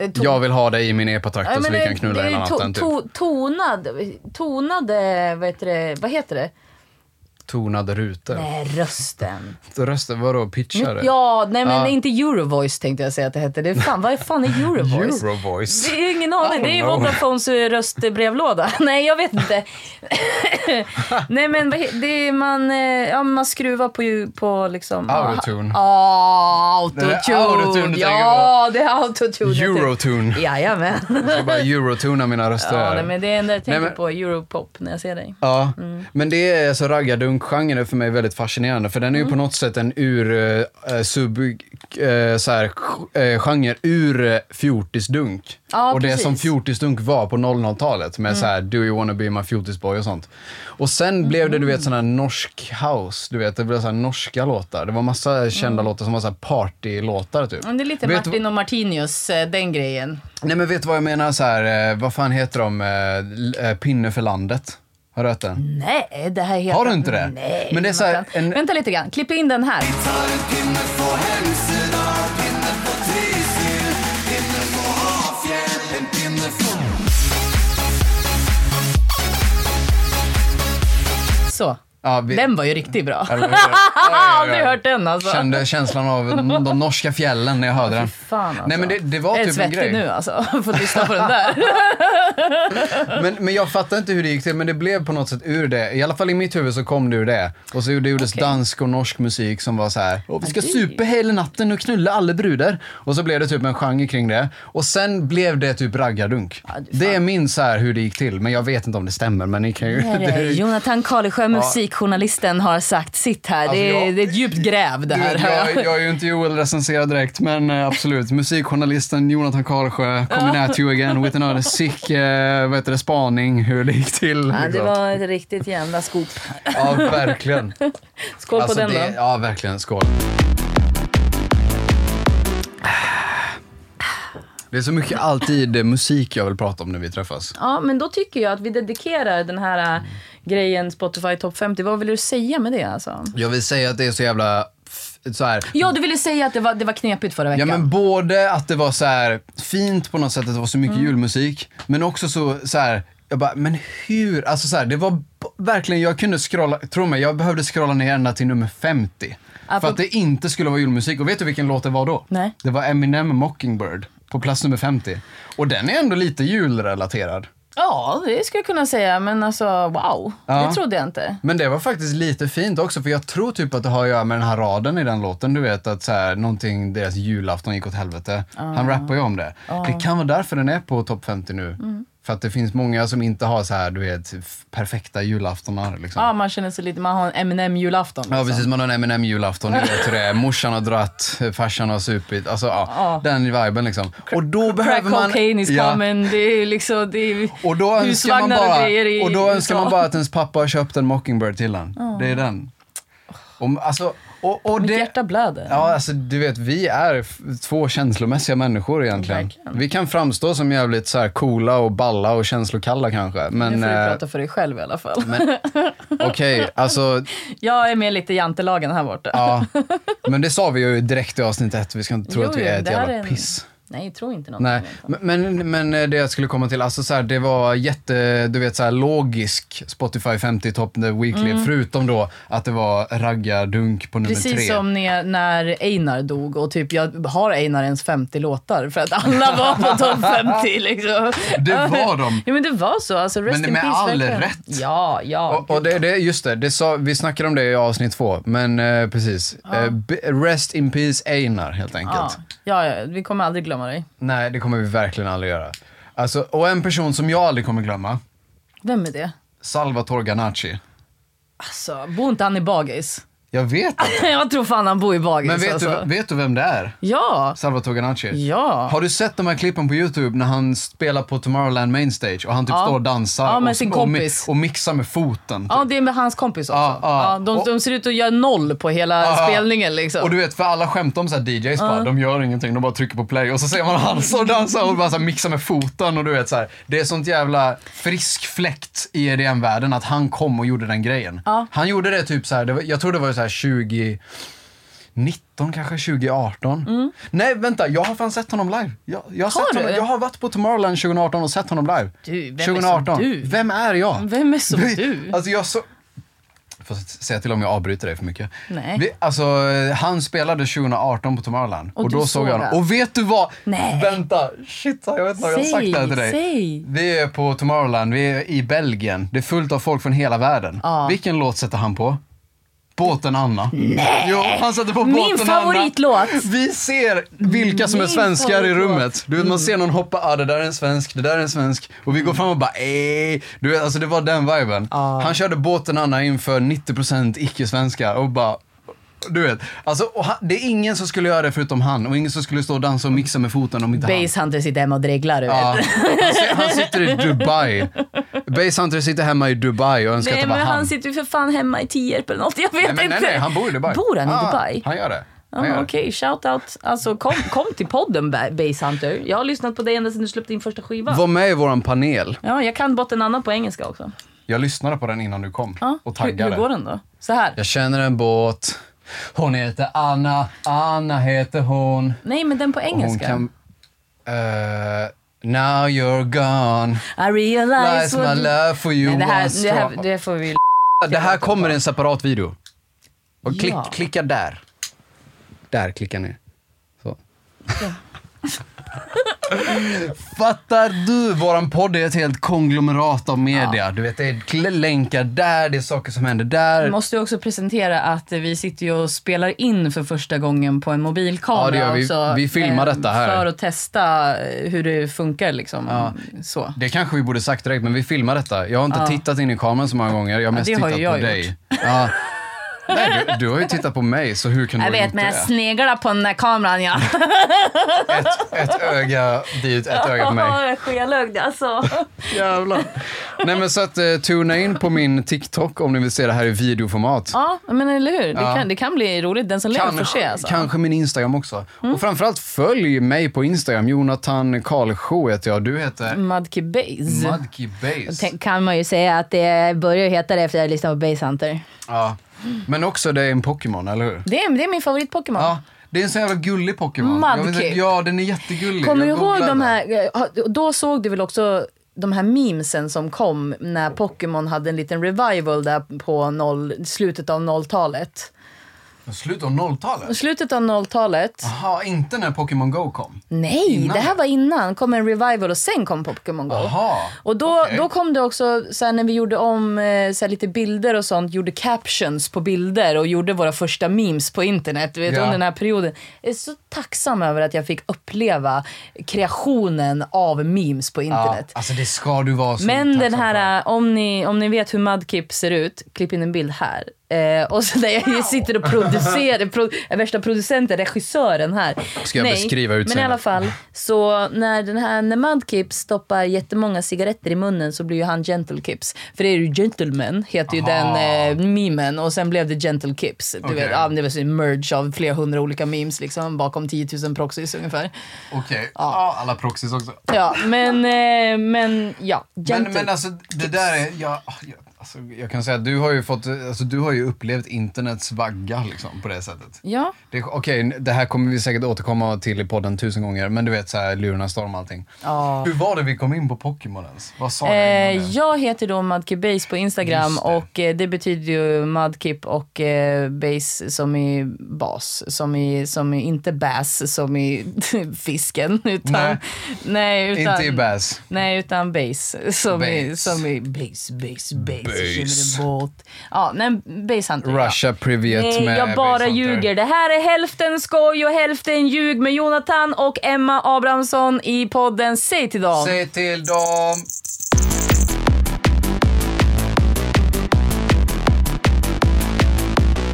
Speaker 2: Eh, to-
Speaker 1: jag vill ha dig i min epatraktor
Speaker 2: Ja,
Speaker 1: så
Speaker 2: men
Speaker 1: vi
Speaker 2: det-
Speaker 1: kan knulla
Speaker 2: det är
Speaker 1: hela
Speaker 2: to-
Speaker 1: natten. Typ.
Speaker 2: to- Tonad, tonade, vad heter det? Vad heter det?
Speaker 1: Tonade rutor.
Speaker 2: Nej, rösten.
Speaker 1: Rösten, vadå, pitchade?
Speaker 2: Ja, nej men
Speaker 1: Ja.
Speaker 2: inte Eurovoice tänkte jag säga att det hette. Det är fan, vad fan är Eurovoice?
Speaker 1: Eurovoice.
Speaker 2: Det är ingen aning. Det är
Speaker 1: I don't know.
Speaker 2: Vodafones eh, röstbrevlåda. Nej, jag vet inte. Nej, men vad he- det är man, eh, ja, man skruvar på, ju- på liksom...
Speaker 1: Autotune.
Speaker 2: Ja,
Speaker 1: Det är autotune
Speaker 2: autotune.
Speaker 1: du
Speaker 2: Ja, det är autotune. jag tänker-
Speaker 1: Eurotune.
Speaker 2: Jajamän.
Speaker 1: Jag bara eurotuna mina röster.
Speaker 2: Ja,
Speaker 1: här.
Speaker 2: nej, men det är det jag tänker
Speaker 1: Nej, men-
Speaker 2: på, europop, när jag ser dig.
Speaker 1: Ja,
Speaker 2: Mm.
Speaker 1: men det är alltså raggardunkgenren är för mig väldigt fascinerande för den
Speaker 2: Mm.
Speaker 1: är ju på något sätt en ur eh, sub eh, så här, eh, genre ur eh, fjortisdunk.
Speaker 2: Ja,
Speaker 1: och det
Speaker 2: precis. Mm.
Speaker 1: som fjortisdunk var på 00-talet med så här do you wanna be my fjortisboy och sånt. Och sen blev det du
Speaker 2: Mm.
Speaker 1: vet sån här norsk house, du vet det blev så här norska låtar. Det var massa kända låtar som var så här partylåtar typ.
Speaker 2: Men Mm. det är lite
Speaker 1: Vet du-
Speaker 2: Martin och Martinius, eh, den grejen.
Speaker 1: Nej men vet du vad jag menar så här, eh, vad fan heter de, eh, l- eh, Pinne för landet? Har du hört den?
Speaker 2: Mm. Nej, det här är helt...
Speaker 1: Har du inte det?
Speaker 2: Nej.
Speaker 1: Men det är så här,
Speaker 2: Jonathan.
Speaker 1: en-
Speaker 2: Vänta lite grann, klipp in den här. Så.
Speaker 1: Ja, vi-
Speaker 2: Den var ju riktigt bra.
Speaker 1: Ja, det var-
Speaker 2: Jag har aldrig hört den alltså.
Speaker 1: Kände känslan av de norska fjällen när jag hörde den.
Speaker 2: Fan alltså.
Speaker 1: Nej men det, det var
Speaker 2: jag
Speaker 1: typ
Speaker 2: är
Speaker 1: en
Speaker 2: svettig
Speaker 1: grej.
Speaker 2: nu alltså, för att lyssna på den där.
Speaker 1: Men, men jag fattar inte hur det gick till, men det blev på något sätt ur det. I alla fall i mitt huvud så kom det ur det. Och så det gjordes
Speaker 2: Okej.
Speaker 1: dansk och norsk musik som var så här. "Åh, Vi ska
Speaker 2: det-
Speaker 1: supa hela natten och knulla alla brudar. Och så blev det typ en genre kring det. Och sen blev det typ raggardunk.
Speaker 2: Ja, du fan.
Speaker 1: det är min så här hur det gick till, men jag vet inte om det stämmer. Men ni kan ju...
Speaker 2: Här är
Speaker 1: det-
Speaker 2: Jonathan Karlsjö, musikjournalisten, har sagt sitt här. det,
Speaker 1: Alltså,
Speaker 2: är,
Speaker 1: jag-
Speaker 2: det är ett djupt gräv det här.
Speaker 1: Du, jag, jag är ju inte Joel recenserad direkt, men eh, absolut. Musikjournalisten Jonathan Karlsjö coming at you again with another sick eh, vad heter det, spaning hur det gick till.
Speaker 2: ja, det
Speaker 1: liksom.
Speaker 2: var ett riktigt jävla skop.
Speaker 1: Ja, verkligen.
Speaker 2: Skål på den
Speaker 1: Alltså, det,
Speaker 2: då.
Speaker 1: ja, verkligen. Skål. Det är så mycket alltid eh, musik jag vill prata om när vi träffas.
Speaker 2: Ja, men då tycker jag att vi dedikerar den här äh, grejen Spotify Top 50. Vad vill du säga med det alltså?
Speaker 1: Jag vill säga att det är så jävla... f- Så här,
Speaker 2: Ja, du ville säga att det var, det var knepigt förra
Speaker 1: Ja
Speaker 2: veckan.
Speaker 1: men både att det var så här fint på något sätt att det var så mycket
Speaker 2: Mm.
Speaker 1: julmusik, men också så, så här, jag bara, men hur? Alltså så här, det var b- verkligen, jag kunde scrolla, tro mig, jag behövde scrolla ner ända till nummer 50.
Speaker 2: Ja,
Speaker 1: För
Speaker 2: på-
Speaker 1: att det inte skulle vara julmusik. Och vet du vilken låt det var då?
Speaker 2: Nej.
Speaker 1: Det var Eminem Mockingbird på plats nummer 50. Och den är ändå lite julrelaterad.
Speaker 2: Ja, det skulle jag kunna säga, men alltså wow.
Speaker 1: Ja.
Speaker 2: Det trodde jag inte.
Speaker 1: Men det var faktiskt lite fint också, för jag tror typ att det har att göra med den här raden i den låten, du vet att så här, någonting, deras julafton gick åt helvete.
Speaker 2: Ah.
Speaker 1: Han rappar ju om det. Det kan vara därför den är på topp 50 nu.
Speaker 2: Mm.
Speaker 1: För att det finns många som inte har så här, du vet, f- perfekta julaftonar liksom.
Speaker 2: Ja, man känner sig lite, man har en Eminem-julafton.
Speaker 1: Ja
Speaker 2: liksom.
Speaker 1: precis, man har en Eminem julafton, ni vet hur det är. Morsan har dratt, farsan har supit. Alltså ja,
Speaker 2: Ja.
Speaker 1: den viben liksom. Och då
Speaker 2: Ah. Crack
Speaker 1: behöver man...
Speaker 2: cocaine is
Speaker 1: Ja.
Speaker 2: coming. Det är liksom, det är
Speaker 1: Och då önskar man
Speaker 2: husvagnar och
Speaker 1: bara,
Speaker 2: grejer i
Speaker 1: och då önskar
Speaker 2: USA.
Speaker 1: man bara att ens pappa har köpt en Mockingbird till han. Det är den. Och, alltså, Och, och
Speaker 2: Mitt
Speaker 1: det,
Speaker 2: hjärta blöder.
Speaker 1: Ja, alltså du vet, vi är f- två känslomässiga människor egentligen.
Speaker 2: Verkligen.
Speaker 1: Vi kan framstå som jävligt så här coola och balla och känslokalla kanske.
Speaker 2: nu
Speaker 1: Men
Speaker 2: får du
Speaker 1: eh,
Speaker 2: prata för dig själv i alla fall.
Speaker 1: okej, alltså,
Speaker 2: Jag är med lite i jantelagen här borta.
Speaker 1: ja. Men det sa vi ju direkt i avsnitt ett, vi ska inte tro
Speaker 2: Jo,
Speaker 1: att vi
Speaker 2: jo,
Speaker 1: är ett
Speaker 2: det här
Speaker 1: jävla
Speaker 2: är en-
Speaker 1: piss.
Speaker 2: Nej, tro inte någonting.
Speaker 1: Nej,
Speaker 2: annat.
Speaker 1: men, men- men eh, det jag skulle komma till, alltså så här, det var jätte, du vet så här logisk Spotify 50 Top The Weekly, förutom då att det var raggardunk på nummer
Speaker 2: Mm. Precis
Speaker 1: tre.
Speaker 2: som när, när Einar dog och typ jag har Einar ens 50 låtar för att alla var på topp 50 liksom.
Speaker 1: Det var de.
Speaker 2: Ja men det var så, alltså rest
Speaker 1: Men
Speaker 2: in
Speaker 1: med
Speaker 2: peace,
Speaker 1: all
Speaker 2: verkligen.
Speaker 1: rätt.
Speaker 2: Ja, ja.
Speaker 1: Och, och det, det, just det, det sa, vi snackade om det i avsnitt två, men eh, precis. Eh, b- rest in peace Einar helt
Speaker 2: ja.
Speaker 1: enkelt.
Speaker 2: ja, ja, vi kommer aldrig glömma dig.
Speaker 1: Nej, det kommer vi verkligen aldrig göra. Alltså, och en person som jag aldrig kommer glömma,
Speaker 2: Vem är det?
Speaker 1: Salvatore Ganacci.
Speaker 2: Alltså, bor inte han i Bagis?
Speaker 1: Jag vet inte.
Speaker 2: jag tror fan han bor i Bagis
Speaker 1: Men vet
Speaker 2: Ah, alltså.
Speaker 1: du, vet du vem det är?
Speaker 2: Ja,
Speaker 1: Salvatore Ganacci.
Speaker 2: ja.
Speaker 1: Har du sett de här klippen på YouTube när han spelar på Tomorrowland Main Stage och han typ
Speaker 2: Ja.
Speaker 1: står och dansar
Speaker 2: Ja, med
Speaker 1: och,
Speaker 2: sin
Speaker 1: och, mi-
Speaker 2: kompis.
Speaker 1: och mixar med foten? typ.
Speaker 2: Ja, det är med hans kompis också.
Speaker 1: Ja, ja.
Speaker 2: Ja, de,
Speaker 1: Och-
Speaker 2: de ser ut att göra noll på hela
Speaker 1: Ja.
Speaker 2: spelningen liksom.
Speaker 1: Och du vet, för alla skämtar om så här DJs bara, de gör ingenting, de bara trycker på play och så ser man han så dansa och bara så här mixar med foten och du vet så här. Det är sånt jävla frisk fläkt i EDM-världen att han kom och gjorde den grejen.
Speaker 2: Ja.
Speaker 1: Han gjorde det typ så här, det var, jag tror det var så här 20... 19 kanske 2018. Nej vänta, jag har fan sett honom live. Jag, jag, har sett
Speaker 2: Mm. du?
Speaker 1: honom, jag har varit på Tomorrowland 2018 och sett honom live.
Speaker 2: Du, vem är som
Speaker 1: 2018.
Speaker 2: du?
Speaker 1: Vem är jag?
Speaker 2: Vem är som
Speaker 1: Vi-
Speaker 2: du?
Speaker 1: Alltså jag så... Får säga till om jag avbryter dig för mycket.
Speaker 2: Nej.
Speaker 1: Vi, alltså, eh, han spelade 2018 på Tomorrowland och,
Speaker 2: Och du
Speaker 1: då såg
Speaker 2: såg
Speaker 1: jag honom.
Speaker 2: han?
Speaker 1: Och vet du vad?
Speaker 2: Nej.
Speaker 1: Vänta, shit jag vet inte om jag har
Speaker 2: Säg,
Speaker 1: sagt det här till dig.
Speaker 2: säg.
Speaker 1: Vi är på Tomorrowland, vi är i Belgien. Det är fullt av folk från hela världen.
Speaker 2: Ja.
Speaker 1: Vilken låt sätter han på? Båten Anna. Nej! Jo, han sätter på
Speaker 2: Min
Speaker 1: Båten
Speaker 2: favoritlåt.
Speaker 1: Anna. Vi ser vilka som är
Speaker 2: Min
Speaker 1: svenskar i
Speaker 2: favoritlåt.
Speaker 1: rummet. Alltså, Du vet, man ser någon hoppa, ah, det där är en svensk, det där är en svensk. Och vi går fram och bara, ey. Du vet, alltså det var den viben.
Speaker 2: Ja.
Speaker 1: Han körde båten Anna inför 90% icke-svenskar och bara, du vet. Alltså, och han, det är ingen som skulle göra det förutom han och ingen som skulle stå och dansa och mixa med foten om inte han.
Speaker 2: Base Hunter sitter hemma och dreglar du
Speaker 1: Ja,
Speaker 2: vet.
Speaker 1: han, si- han sitter i Dubai. Base Hunter sitter hemma i Dubai och önskar
Speaker 2: Nej
Speaker 1: att det var
Speaker 2: men
Speaker 1: han.
Speaker 2: han sitter ju för fan hemma i Tierp eller något, jag vet
Speaker 1: nej, men, nej,
Speaker 2: inte.
Speaker 1: nej, han bor i Dubai. Ah.
Speaker 2: Bor han i
Speaker 1: Ja,
Speaker 2: Dubai?
Speaker 1: Han gör det. Han gör
Speaker 2: Ja,
Speaker 1: det.
Speaker 2: Okej, shout out. Alltså kom, kom till podden Ba- Base Hunter. Jag har lyssnat på dig ända sedan du släppte din första skiva.
Speaker 1: Var med i våran panel.
Speaker 2: Ja, jag kan botten annan på engelska också.
Speaker 1: Jag lyssnade på den innan du kom
Speaker 2: Ja.
Speaker 1: och
Speaker 2: Ah, hur,
Speaker 1: taggade.
Speaker 2: hur går den då? Så här.
Speaker 1: Jag känner en båt. Hon heter Anna. Anna heter hon.
Speaker 2: Nej men den på
Speaker 1: Och hon
Speaker 2: engelska.
Speaker 1: kan... Eh, now you're gone.
Speaker 2: I
Speaker 1: Lies
Speaker 2: realize
Speaker 1: my
Speaker 2: what...
Speaker 1: love for you
Speaker 2: Nej, det,
Speaker 1: once
Speaker 2: här, det, här,
Speaker 1: more.
Speaker 2: det får vi...
Speaker 1: Det här kommer i en separat video. Och klick,
Speaker 2: Ja.
Speaker 1: klicka där. Där klickar ni. Så. Fattar du? Våran podd är ett helt konglomerat av media. Du vet, det är kl- länkar där, det är saker som händer där.
Speaker 2: Vi måste ju också presentera att vi sitter ju och spelar in för första gången på en mobilkamera.
Speaker 1: Ja, det gör vi.
Speaker 2: också,
Speaker 1: Vi filmar
Speaker 2: eh,
Speaker 1: detta här.
Speaker 2: För att testa eh, hur det funkar liksom. Så.
Speaker 1: Det kanske vi borde sagt direkt, men vi filmar detta. Jag har inte tittat in i kameran så många gånger. Jag har mest
Speaker 2: det har
Speaker 1: tittat
Speaker 2: ju jag
Speaker 1: på
Speaker 2: gjort.
Speaker 1: dig. Ja. Nej, du, du har ju tittat på mig, så hur kan
Speaker 2: Jag
Speaker 1: du ha
Speaker 2: vet,
Speaker 1: gjort
Speaker 2: men jag
Speaker 1: det?
Speaker 2: sneglar på den där kameran ja.
Speaker 1: Ett, ett öga dit, ett öga på mig.
Speaker 2: jag skelögd alltså.
Speaker 1: Jävlar. Nej men så att eh, tuna in på min TikTok om ni vill se det här i videoformat.
Speaker 2: Ja, men eller hur. Det,
Speaker 1: Ja.
Speaker 2: kan, det kan bli roligt. Den som lever får se alltså. Mm.
Speaker 1: kanske min Instagram också. Och framförallt följ mig på Instagram. Jonathan Karlsjö heter jag. Du heter
Speaker 2: Mudkey Base.
Speaker 1: Mudkey Base.
Speaker 2: Mm. Tänk- kan man ju säga att det börjar ju heta det efter att jag lyssnade på Base Hunter.
Speaker 1: Ja. Men också det är en Pokémon, eller hur?
Speaker 2: Det är, det är min favorit-Pokémon.
Speaker 1: Ja. Det är en så jävla gullig Pokémon. Jag vet inte-
Speaker 2: Mudkip.
Speaker 1: Ja, den är jättegullig.
Speaker 2: Kommer du
Speaker 1: Jag
Speaker 2: ihåg
Speaker 1: googlade
Speaker 2: de
Speaker 1: den.
Speaker 2: här, eh, då såg du väl också de här memesen som kom när Pokémon hade en liten revival där på noll, slutet av 0-talet.
Speaker 1: Slut av 0-talet?
Speaker 2: Slutet av 0-talet.
Speaker 1: Jaha, inte när Pokémon Go kom?
Speaker 2: Nej,
Speaker 1: Innan
Speaker 2: det här var innan. kom en revival och sen kom Pokémon Go.
Speaker 1: Jaha.
Speaker 2: Och då,
Speaker 1: Okej.
Speaker 2: då kom det också, så här, när vi gjorde om eh, så här, lite bilder och sånt, gjorde captions på bilder och gjorde våra första memes på internet du vet,
Speaker 1: Ja.
Speaker 2: under den här perioden. Jag är så tacksam över att jag fick uppleva kreationen av memes
Speaker 1: Ja,
Speaker 2: på internet.
Speaker 1: alltså det ska du vara så
Speaker 2: Men den
Speaker 1: tacksam för.
Speaker 2: här, äh, om ni, om ni vet hur Mudkip ser ut, klipp in en bild här. Eh, och så när jag sitter och producerar, pro, är värsta producenten, regissören här.
Speaker 1: Ska jag beskriva
Speaker 2: Men i alla
Speaker 1: utseendet?
Speaker 2: fall, så när, den här, när Mudkip stoppar jättemånga cigaretter i munnen så blir ju han Gentle Kips. För det är ju Gentleman, heter ju
Speaker 1: Aha.
Speaker 2: den eh, memen. Och sen blev det Gentle Kips. Du
Speaker 1: Okej.
Speaker 2: vet, ja, det var så en merge av flera hundra olika memes liksom, bakom 10 000 proxys ungefär.
Speaker 1: Okej, ja. alla proxys också.
Speaker 2: Ja, men, eh, men ja.
Speaker 1: Men,
Speaker 2: Gentle.
Speaker 1: men alltså det där är, jag, jag, alltså, jag kan säga att du har ju fått, alltså, du har ju upplevt internets vagga liksom på det sättet.
Speaker 2: ja.
Speaker 1: Det- Okej, det här kommer vi säkert återkomma till i podden tusen gånger, men du vet så här lurarnas storm och allting.
Speaker 2: Ja.
Speaker 1: Hur var det vi kom in på Pokémon ens? Vad sa jag
Speaker 2: Eh,
Speaker 1: innan det?
Speaker 2: jag heter då Madkip Base på Instagram
Speaker 1: Just det.
Speaker 2: och eh, det betyder ju Madkip och eh, Base som i bas, som i, som i inte bass som i fisken utan...
Speaker 1: Nej.
Speaker 2: Nej, utan...
Speaker 1: Inte i Bass.
Speaker 2: Nej, utan base. Som i,
Speaker 1: Base.
Speaker 2: som i base, base, base.
Speaker 1: Base.
Speaker 2: Känner en båt. Ja, nej, base hunter. ja.
Speaker 1: Russia Privet
Speaker 2: Nej,
Speaker 1: med
Speaker 2: jag bara
Speaker 1: Basehunter.
Speaker 2: ljuger. Det här är hälften skoj och hälften ljug med Jonathan och Emma Abrahamsson i podden Säg till dem.
Speaker 1: Säg till dem.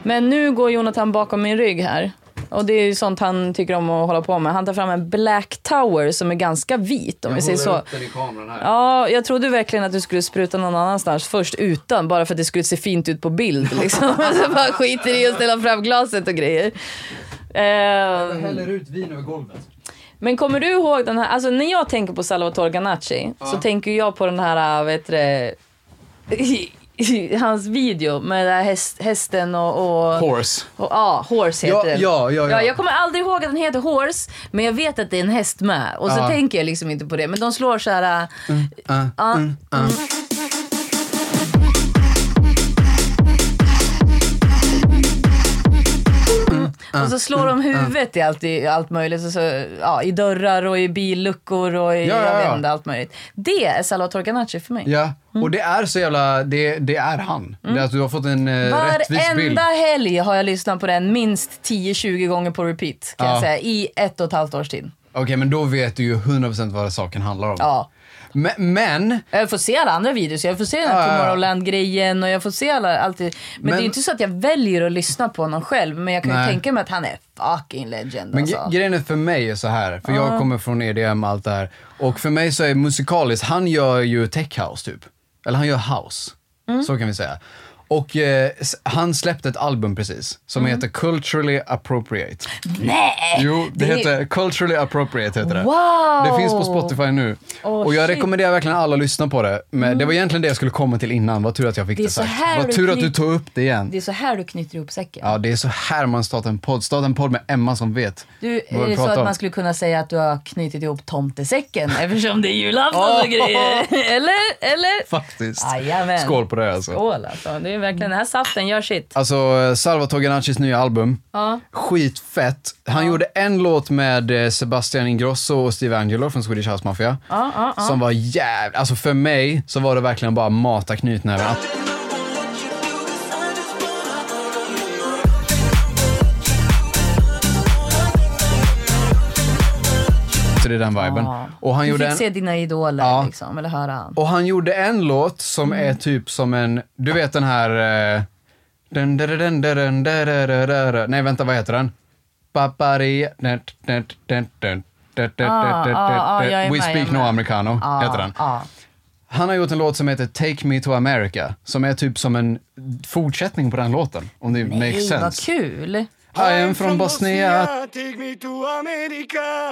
Speaker 2: Men nu går Jonathan bakom min rygg här. Och det är ju sånt han tycker om att hålla på med. Han tar fram en black tower som är ganska vit om vi säger så.
Speaker 1: den i kameran här.
Speaker 2: Ja, jag trodde verkligen att du skulle spruta någon annanstans först utan, bara för att det skulle se fint ut på bild. Liksom. Så bara skiter i att ställa fram glaset och grejer. Eh,
Speaker 1: Häller ut vin över golvet.
Speaker 2: men kommer du ihåg den här, alltså när jag tänker på Salvatore Ganacci så tänker jag på den här, äh, vet du det, hans video med den här häst, hästen och... och
Speaker 1: Horse.
Speaker 2: och, ja, Horse heter
Speaker 1: Ja,
Speaker 2: den.
Speaker 1: ja, ja, ja.
Speaker 2: Jag kommer aldrig ihåg att den heter Horse, men jag vet att det är en häst med. Och så
Speaker 1: Ja.
Speaker 2: tänker jag liksom inte på det. Men de slår så här... äh,
Speaker 1: Ah,
Speaker 2: Ja. Mm.
Speaker 1: ah. Mm,
Speaker 2: Mm. Och så slår de huvudet i allt, i allt möjligt. Och så, ja, I dörrar och i billuckor och i
Speaker 1: Ja, ja,
Speaker 2: jag
Speaker 1: ja.
Speaker 2: vet inte, allt möjligt. Det är Salvatore Ganacci för mig.
Speaker 1: Ja,
Speaker 2: Mm.
Speaker 1: och det är så jävla, det, det är han. Det är att du har fått en eh, rättvis bild.
Speaker 2: Varenda helg har jag lyssnat på den minst 10-20 gånger på repeat kan
Speaker 1: Ja.
Speaker 2: jag säga, i ett och ett halvt års tid.
Speaker 1: Okej, men då vet du ju 100% vad saken handlar om.
Speaker 2: Ja.
Speaker 1: Men, men
Speaker 2: Jag får se alla andra videos, jag får se den
Speaker 1: Ja, ja,
Speaker 2: här
Speaker 1: ja.
Speaker 2: Tomorrowland-grejen och jag får se alla, allt det. Men,
Speaker 1: Men-
Speaker 2: det är ju inte så att jag väljer att lyssna på honom själv, men jag kan
Speaker 1: Nej.
Speaker 2: ju tänka mig att han är fucking legend
Speaker 1: Men
Speaker 2: alltså.
Speaker 1: gre- grejen är för mig är så här, för jag kommer från EDM och allt det här. Och för mig så är musikaliskt, han gör ju tech house typ. Eller han gör house.
Speaker 2: Mm.
Speaker 1: Så kan vi säga. Och eh, s- han släppte ett album precis som heter Culturally Appropriate.
Speaker 2: Mm. Nej!
Speaker 1: Jo, det,
Speaker 2: är-
Speaker 1: heter Culturally Appropriate. Heter det.
Speaker 2: Wow!
Speaker 1: det finns på Spotify nu.
Speaker 2: Åh,
Speaker 1: och jag
Speaker 2: shit. Mm.
Speaker 1: rekommenderar verkligen alla att lyssna på det. Men Det var egentligen det jag skulle komma till innan. Vad tur att jag fick
Speaker 2: Det
Speaker 1: det,
Speaker 2: är så
Speaker 1: sagt.
Speaker 2: här
Speaker 1: Vad
Speaker 2: du
Speaker 1: tur att du
Speaker 2: knyter-
Speaker 1: tog upp det igen.
Speaker 2: Det är så här du knyter ihop säcken.
Speaker 1: Ja, det är så här man startar en podd. Starta en podd med Emma som vet
Speaker 2: Du,
Speaker 1: vad
Speaker 2: är
Speaker 1: vi
Speaker 2: det så
Speaker 1: pratar
Speaker 2: att
Speaker 1: om.
Speaker 2: man skulle kunna säga att du har knutit ihop tomtesäcken eftersom det är julafton och grejer? Eller? Eller?
Speaker 1: Faktiskt.
Speaker 2: Jajamän.
Speaker 1: Skål på det alltså.
Speaker 2: Skål alltså. Det är verkligen, den här saften gör sitt.
Speaker 1: Alltså, eh, Salvatore Ganacis nya album.
Speaker 2: Ja.
Speaker 1: Skitfett. Han gjorde en låt med eh, Sebastian Ingrosso och Steve Angelo från Swedish House Mafia.
Speaker 2: Ja, ja, ja.
Speaker 1: Som var jävligt... Alltså för mig så var det verkligen bara mata knytnäven. Så det är den viben.
Speaker 2: Ja.
Speaker 1: Och han
Speaker 2: du
Speaker 1: gjorde
Speaker 2: fick
Speaker 1: en...
Speaker 2: se dina idoler
Speaker 1: Ja.
Speaker 2: liksom, eller höra han.
Speaker 1: Och han gjorde en låt som är
Speaker 2: Mm.
Speaker 1: typ som en, du vet den här... eh, dun, dun, dun, dun, dun, dun, dun, dun, dun, dun. Nej, vänta, vad heter den? Papari... dun, dun, dun, dun, dun, dun,
Speaker 2: Ah,
Speaker 1: dun,
Speaker 2: ah, ah,
Speaker 1: dun,
Speaker 2: jag är
Speaker 1: dun. We
Speaker 2: med, jag
Speaker 1: speak
Speaker 2: är
Speaker 1: no
Speaker 2: med. Ah,
Speaker 1: americano,
Speaker 2: Ja,
Speaker 1: heter den.
Speaker 2: ja.
Speaker 1: Han har gjort en låt som heter Take me to America, som är typ som en fortsättning på den låten, om det makes
Speaker 2: Hej, vad
Speaker 1: sense.
Speaker 2: kul!
Speaker 1: I am from Bosnia.
Speaker 4: Take me to America.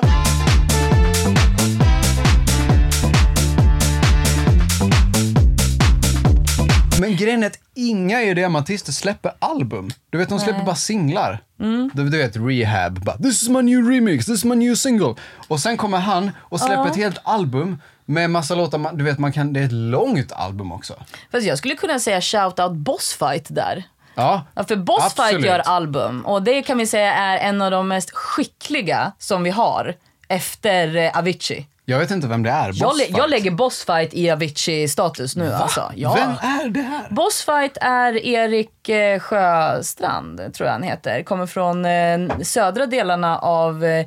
Speaker 1: Men grejen är att inga EDM-artister släpper album. Du vet, de släpper bara singlar.
Speaker 2: Mm.
Speaker 1: Du, du vet, Rehab. Bara, this is my new remix, this is my new single. Och sen kommer han och släpper ett helt album med massa låtar. Man, du vet, man kan, det är ett långt album också.
Speaker 2: Fast jag skulle kunna säga shout-out Bossfight där.
Speaker 1: Ja,
Speaker 2: Ja, för Bossfight
Speaker 1: absolut.
Speaker 2: gör album och det kan vi säga är en av de mest skickliga som vi har efter eh, Avicii.
Speaker 1: Jag vet inte vem det är.
Speaker 2: Jag, lä-
Speaker 1: Bossfight.
Speaker 2: jag lägger Bossfight i Avicii-status nu alltså. Ja.
Speaker 1: Vem är det här?
Speaker 2: Bossfight är Erik eh, Sjöstrand, tror jag han heter. Kommer från eh, södra delarna av eh,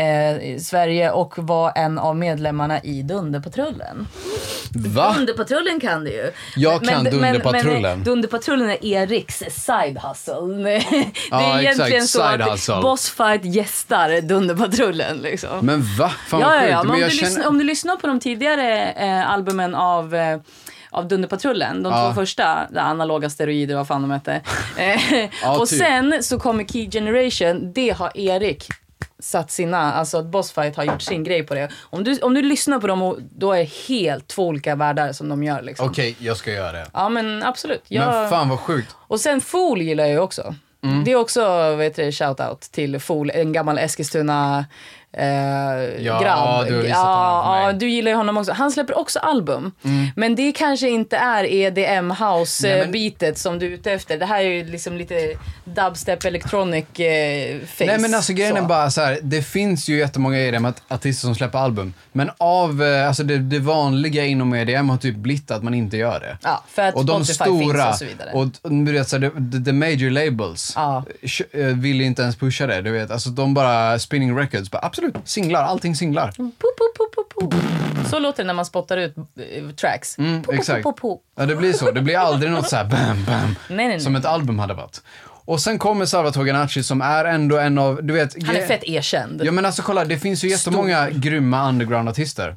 Speaker 2: eh, Sverige och var en av medlemmarna i Dunderpatrullen.
Speaker 1: Va?
Speaker 2: Dunderpatrullen kan du ju.
Speaker 1: Jag kan Dunderpatrullen.
Speaker 2: Men, men Dunderpatrullen är Eriks side hustle. Det är
Speaker 1: Ja, exakt.
Speaker 2: egentligen så
Speaker 1: Side hustle.
Speaker 2: att Bossfight gästar Dunderpatrullen. Liksom.
Speaker 1: Men va? Fan vad
Speaker 2: ja, ja,
Speaker 1: sjukt.
Speaker 2: ja. Men om,
Speaker 1: jag
Speaker 2: du lyssnar, om du lyssnar på de tidigare eh, albumen av eh, av Dunderpatrullen, de
Speaker 1: Ja.
Speaker 2: två första, där analoga steroider vad fan de hette. Eh,
Speaker 1: Ja,
Speaker 2: och
Speaker 1: typ.
Speaker 2: sen så kommer Key Generation, det har Erik satt sina, alltså att Bossfight har gjort sin grej på det. Om du, om du lyssnar på dem, och- då är det helt två olika världar som de gör liksom.
Speaker 1: Okej, jag ska göra det.
Speaker 2: Ja men absolut.
Speaker 1: Men
Speaker 2: Jag-
Speaker 1: fan vad sjukt.
Speaker 2: och sen Fool gillar jag ju också.
Speaker 1: Mm.
Speaker 2: Det är också vet du, shout-out till Fool, en gammal Eskilstuna eh,
Speaker 1: Ja,
Speaker 2: grabb.
Speaker 1: du har visat honom för
Speaker 2: ja,
Speaker 1: mig. Mm.
Speaker 2: ja, du gillar ju honom också. Han släpper också album. Men det kanske inte är EDM
Speaker 1: Nej,
Speaker 2: house
Speaker 1: men-
Speaker 2: beatet som du är ute efter. Det här är ju liksom lite dubstep electronic eh, face.
Speaker 1: Nej men alltså grejen
Speaker 2: så.
Speaker 1: är bara så här, det finns ju jättemånga EDM-artister som släpper album. Men av, eh, alltså det, det vanliga inom EDM har typ blivit att man inte gör det.
Speaker 2: Ja, för att
Speaker 1: och de
Speaker 2: Spotify
Speaker 1: stora,
Speaker 2: finns och så vidare.
Speaker 1: och och du vet, så här, the, the major labels
Speaker 2: Ja.
Speaker 1: kö- eh, vill inte ens pusha det. Du vet, alltså de bara, spinning records, bara absolut, singlar, allting singlar.
Speaker 2: Pop, pop, pop, pop, pop. Så låter det när man spottar ut eh, tracks.
Speaker 1: Mm,
Speaker 2: Pop, pop,
Speaker 1: exakt.
Speaker 2: pop, pop.
Speaker 1: Ja, det blir så. Det blir aldrig något så här bam, bam.
Speaker 2: Nej, nej, nej.
Speaker 1: Som ett album hade varit. Och sen kommer Salvatore Ganacci som är ändå en av, du vet.
Speaker 2: Han är
Speaker 1: ge-
Speaker 2: fett erkänd.
Speaker 1: Ja men alltså kolla, det finns ju jättemånga grymma underground-artister.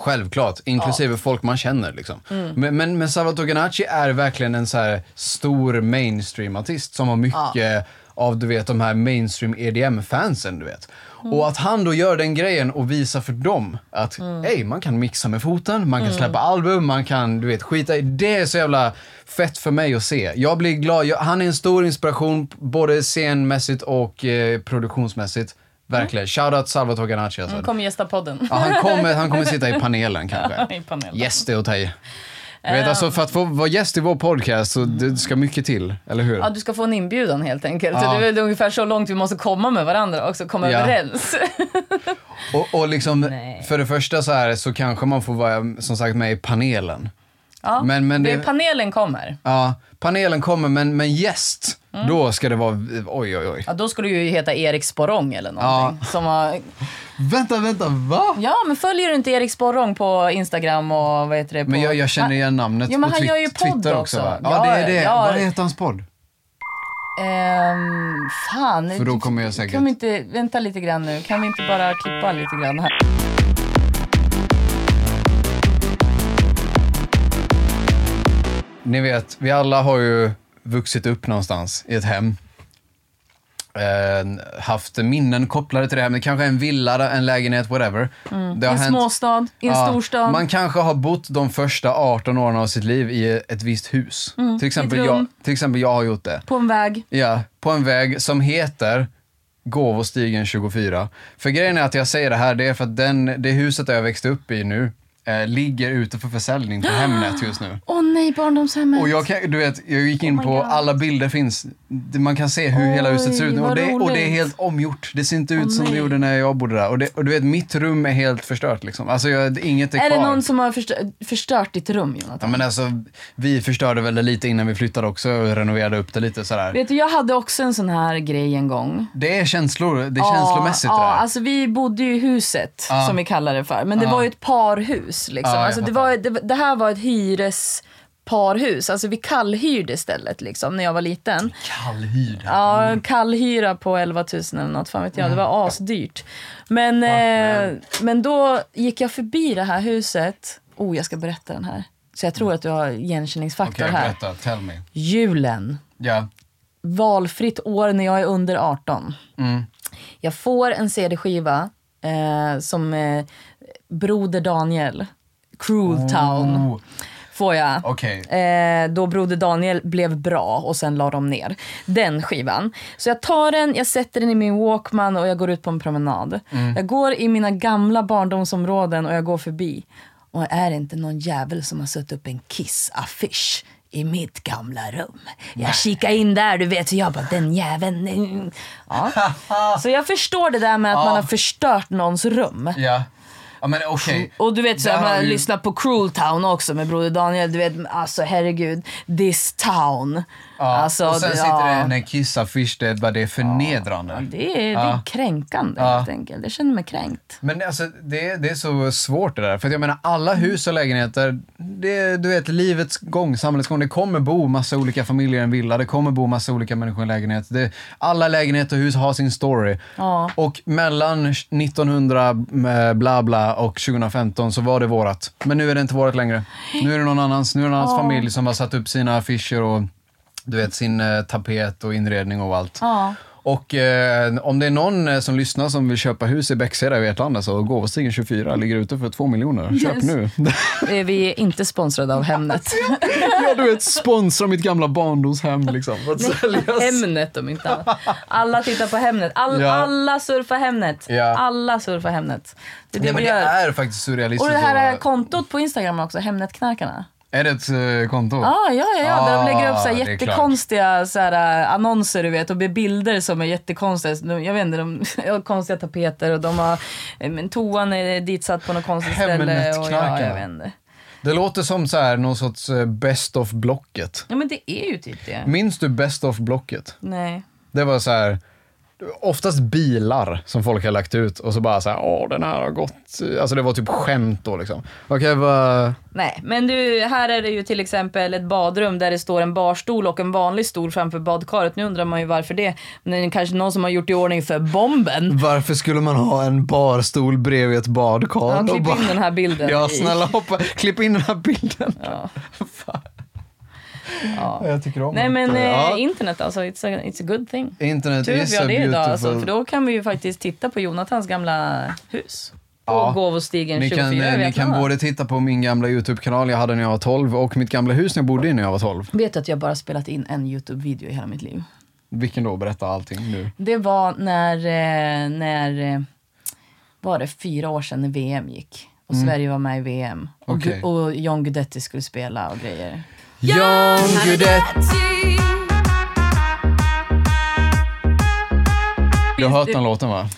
Speaker 1: Självklart, inklusive folk man känner liksom. Men, men, men Salvatore Ganacci är verkligen en så här stor mainstream-artist som har mycket av du vet de här mainstream EDM-fansen du vet. Och att han då gör den grejen och visar för dem att hej, man kan mixa med foten, man kan släppa album, man kan du vet skita i. Det är så jävla fett för mig att se. Jag blir glad. Jag, han är en stor inspiration både scenmässigt och eh, produktionsmässigt. Verkligen. Shoutout Salvatore Ganacci alltså.
Speaker 2: Kom gästa podden.
Speaker 1: Ja, han, kommer, han kommer sitta i panelen kanske.
Speaker 2: I panelen. Eh.
Speaker 1: Gäst är att ta i. Du vet, alltså, för att få vara gäst i vår podcast så det ska mycket till, eller hur?
Speaker 2: Ja, du ska få en inbjudan helt enkelt.
Speaker 1: Ja.
Speaker 2: Så det är väl ungefär så långt vi måste komma med varandra också, komma
Speaker 1: Ja.
Speaker 2: överens.
Speaker 1: Och, och liksom,
Speaker 2: Nej.
Speaker 1: för det första så här så kanske man får vara som sagt med i panelen.
Speaker 2: Ja.
Speaker 1: Men- men det-
Speaker 2: det... Panelen kommer.
Speaker 1: Ja, panelen kommer men, men gäst,
Speaker 2: Mm.
Speaker 1: då ska det vara, oj oj oj.
Speaker 2: Ja, då skulle du ju heta Erik Sporrong eller någonting. Som har...
Speaker 1: Vänta, vänta, va?
Speaker 2: Ja, men följer du inte Erik Sporrong på Instagram och vad heter det? På...
Speaker 1: Men jag, jag känner igen namnet
Speaker 2: Jo, men
Speaker 1: på
Speaker 2: han
Speaker 1: twi-
Speaker 2: gör ju podd
Speaker 1: Twitter
Speaker 2: också.
Speaker 1: va? Ja,
Speaker 2: Ja,
Speaker 1: det är det.
Speaker 2: ja.
Speaker 1: Vad heter hans podd?
Speaker 2: Ah, Ehm, fan.
Speaker 1: För då kommer jag säkert-
Speaker 2: Kan vi inte... Vänta lite grann nu. Kan vi inte bara klippa lite grann här?
Speaker 1: Ni vet, vi alla har ju vuxit upp någonstans i ett hem. Eh, haft minnen kopplade till det hemmet. Kanske en villa, där- en lägenhet, whatever. Det
Speaker 2: I
Speaker 1: har
Speaker 2: Mm. en
Speaker 1: hänt-
Speaker 2: småstad, i en
Speaker 1: Ja,
Speaker 2: storstad.
Speaker 1: Man kanske har bott de första 18 åren av sitt liv i ett visst hus. till, exempel
Speaker 2: Mm, i ett
Speaker 1: jag,
Speaker 2: rum.
Speaker 1: till exempel jag har gjort det.
Speaker 2: På en väg.
Speaker 1: Ja, på en väg som heter Gåvostigen 24. För grejen är att jag säger det här, det är för att den, det huset där jag växte upp i nu eh, ligger ute för försäljning på Hemnet just nu.
Speaker 5: Åh nej, barndomshemmet.
Speaker 1: Och jag, kan, du vet, jag gick
Speaker 2: Oh
Speaker 1: in på, alla bilder finns, Det- man kan se hur hela huset ser ut nu. Och
Speaker 2: vad
Speaker 1: det, och det är
Speaker 2: roligt.
Speaker 1: helt omgjort. Det ser inte ut som det gjorde när jag bodde där. Och, det, och du vet, mitt rum är helt förstört liksom. Alltså jag, inget är,
Speaker 2: Är
Speaker 1: kvar.
Speaker 2: det någon som har förstört, förstört ditt rum, Jonathan?
Speaker 1: Ja men alltså, vi förstörde väl det lite innan vi flyttade också och renoverade upp det lite sådär.
Speaker 2: Vet du, jag hade också en sån här grej en gång.
Speaker 1: Det är känslor, det är känslomässigt
Speaker 2: ja,
Speaker 1: det där.
Speaker 2: alltså vi bodde ju i huset
Speaker 1: Ja.
Speaker 2: som vi kallar det för. Men det var ju ett parhus. Liksom.
Speaker 1: Ja, jag
Speaker 2: alltså, det,
Speaker 1: fattar.
Speaker 2: var, det, det här var ett hyresparhus. Alltså vi kallhyrde stället liksom, när jag var liten.
Speaker 1: Kallhyrd.
Speaker 2: Ja,
Speaker 1: Mm.
Speaker 2: kallhyra på 11 000 eller något, fan vet jag. Det var asdyrt. Men, eh, men då gick jag förbi det här huset. Oh, jag ska berätta den här. Så jag tror att du har igenkänningsfaktor
Speaker 1: Mm. Okej,
Speaker 2: här.
Speaker 1: berätta. Tell me.
Speaker 2: Julen.
Speaker 1: Ja.
Speaker 2: valfritt år när jag är under 18.
Speaker 1: Mm.
Speaker 2: Jag får en CD-skiva eh, som eh, Broder Daniel, Cruel Town,
Speaker 1: Oh,
Speaker 2: får jag.
Speaker 1: Okej.
Speaker 2: Eh, då Broder Daniel blev bra och sen la de ner den skivan. Så jag tar den, jag sätter den i min Walkman och jag går ut på en promenad.
Speaker 1: Mm.
Speaker 2: Jag går i mina gamla barndomsområden och jag går förbi. Och är det inte någon jävel som har satt upp en Kiss-affisch i mitt gamla rum? Jag kikar in där, du vet, så jag bara den jäveln. mm. Ja. Så jag förstår det där med att man har förstört någons rum.
Speaker 1: Ja. Ja men okej.
Speaker 2: Och du vet så
Speaker 1: Där
Speaker 2: jag
Speaker 1: har
Speaker 2: har
Speaker 1: vi-
Speaker 2: lyssnat på Cruel Town också med Broder Daniel. Du vet, alltså herregud. This town.
Speaker 1: Ja
Speaker 2: Alltså,
Speaker 1: och sen
Speaker 2: det-
Speaker 1: sitter
Speaker 2: ja.
Speaker 1: det en kissaffisch, det är bara det är förnedrande.
Speaker 2: Det är, det
Speaker 1: Ja.
Speaker 2: är kränkande
Speaker 1: Ja.
Speaker 2: helt enkelt. Jag känner mig kränkt.
Speaker 1: Men alltså, det, det är så svårt det där. För att jag menar, alla hus och lägenheter, det, du vet, livets gång, samhällets gång. Det kommer bo massa olika familjer i en villa, det kommer bo massa olika människor i en lägenhet. Det, alla lägenheter och hus har sin story.
Speaker 2: Ja.
Speaker 1: Och mellan 1900 eh, bla bla och 2015 så var det vårat. Men nu är det inte vårat längre. Nu är det någon annans, nu är det någon annans familj som har satt upp sina affischer och du vet, sin eh, tapet och inredning och allt.
Speaker 2: Ja.
Speaker 1: Och eh, om det är någon eh, som lyssnar som vill köpa hus i Bäcksheda i Vetlanda så Gåvostigen 24 ligger ute för 2 miljoner. Köp
Speaker 2: Yes.
Speaker 1: nu!
Speaker 2: Eh, Vi är inte sponsrade av Hemnet.
Speaker 1: ja, du vet, sponsra mitt gamla barndomshem liksom. För att säljas.
Speaker 2: Hemnet om inte annat. Alla tittar på Hemnet. All,
Speaker 1: Ja.
Speaker 2: Alla surfar Hemnet.
Speaker 1: Ja.
Speaker 2: Alla surfar Hemnet. Det är det
Speaker 1: Nej, men
Speaker 2: vi
Speaker 1: det
Speaker 2: gör.
Speaker 1: är faktiskt
Speaker 2: Och
Speaker 1: surrealistiskt.
Speaker 2: det här
Speaker 1: att-
Speaker 2: kontot på Instagram också, Hemnetknarkarna.
Speaker 1: är det ett eh, konto?
Speaker 2: Ah, ja, ja, ja. Där de lägger upp så
Speaker 1: Ah,
Speaker 2: här
Speaker 1: det är klart.
Speaker 2: jättekonstiga så här, äh, annonser du vet, och med bilder som är jättekonstiga. Så de- Jag vet inte, de har konstiga tapeter och de har, eh, men toan är ditsatt på något konstigt ställe. Och, ja,
Speaker 1: Hemnetknarkarna.
Speaker 2: jag vet inte.
Speaker 1: Det låter som så här, någon sorts eh, Best of Blocket.
Speaker 2: Ja men det är ju typ det.
Speaker 1: Minns du Best of Blocket?
Speaker 2: Nej.
Speaker 1: Det var så här, oftast bilar som folk har lagt ut och så bara så här, åh den här har gått. Alltså det var typ skämt då liksom. Okej, vad...
Speaker 2: Nej, men du, här är det ju till exempel ett badrum där det står en barstol och en vanlig stol framför badkaret. Nu undrar man ju varför det. Men det är kanske någon som har gjort i ordning för bomben.
Speaker 1: Varför skulle man ha en barstol bredvid ett badkar?
Speaker 2: Ja,
Speaker 1: Och
Speaker 2: klipp
Speaker 1: bara-
Speaker 2: in den här bilden.
Speaker 1: Ja,
Speaker 2: i-
Speaker 1: snälla hoppa. Klipp in den här bilden.
Speaker 2: Ja.
Speaker 1: Fan.
Speaker 2: Ja.
Speaker 1: Jag tycker om
Speaker 2: Nej
Speaker 1: det.
Speaker 2: men eh,
Speaker 1: Ja.
Speaker 2: internet alltså, it's a, it's a good thing.
Speaker 1: Internet
Speaker 2: Tur att
Speaker 1: is
Speaker 2: vi
Speaker 1: a
Speaker 2: har det
Speaker 1: beautiful...
Speaker 2: idag alltså, för då kan vi ju faktiskt titta på Jonathans gamla hus. På
Speaker 1: Ja.
Speaker 2: Gåvostigen
Speaker 1: Ni
Speaker 2: 24
Speaker 1: kan, eh,
Speaker 2: i
Speaker 1: ni kan
Speaker 2: Vetlanda.
Speaker 1: både titta på min gamla YouTube-kanal jag hade när jag var 12 och mitt gamla hus när jag bodde i när jag var 12.
Speaker 2: Vet du att jag bara spelat in en Youtube-video i hela mitt liv?
Speaker 1: Vilken då? Berätta allting nu.
Speaker 2: Det var när, eh, när eh, var det fyra år sedan när VM gick. Och Sverige var med i VM. Och,
Speaker 1: Mm. Okej.
Speaker 2: Gu- och John Guidetti skulle spela och grejer.
Speaker 1: John Guidetti! Du har hört den låten va?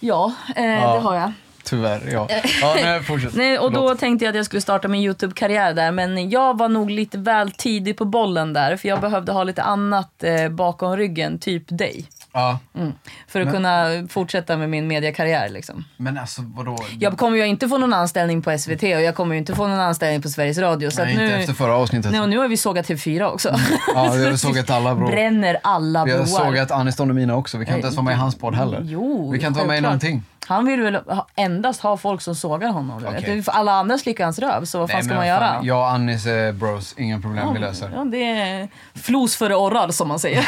Speaker 2: Ja, eh, det har jag.
Speaker 1: Tyvärr, ja. ja nej, fortsätt.
Speaker 2: Nej, och då
Speaker 1: Förlåt.
Speaker 2: tänkte jag att jag skulle starta min YouTube-karriär där. Men jag var nog lite väl tidig på bollen där. För jag behövde ha lite annat eh, bakom ryggen, typ dig.
Speaker 1: Ja.
Speaker 2: För att kunna fortsätta med min mediekarriär liksom.
Speaker 1: Men alltså vadå?
Speaker 2: Jag kommer ju inte få någon anställning på SVT och jag kommer ju inte få någon anställning på Sveriges Radio. Så
Speaker 1: nej,
Speaker 2: att nu...
Speaker 1: inte efter förra avsnittet.
Speaker 2: Nej, och nu har vi sågat TV4 också.
Speaker 1: Ja, vi har sågat alla bror.
Speaker 2: Bränner alla
Speaker 1: Vi
Speaker 2: broar.
Speaker 1: har sågat Anis Don Demina också. Vi kan inte ens vara med i hans podd heller.
Speaker 2: Jo,
Speaker 1: vi kan inte vara med i
Speaker 2: självklart.
Speaker 1: någonting.
Speaker 2: Han vill väl ha, endast ha folk som sågar honom. du vet.
Speaker 1: Okej.
Speaker 2: Det är för Alla andra slickar hans röv, så vad fan ska
Speaker 1: men
Speaker 2: man
Speaker 1: vad
Speaker 2: göra?
Speaker 1: fan, Jag och Anis är bros. Inga problem, vi löser.
Speaker 2: Ja, det är flos före orrar som man säger.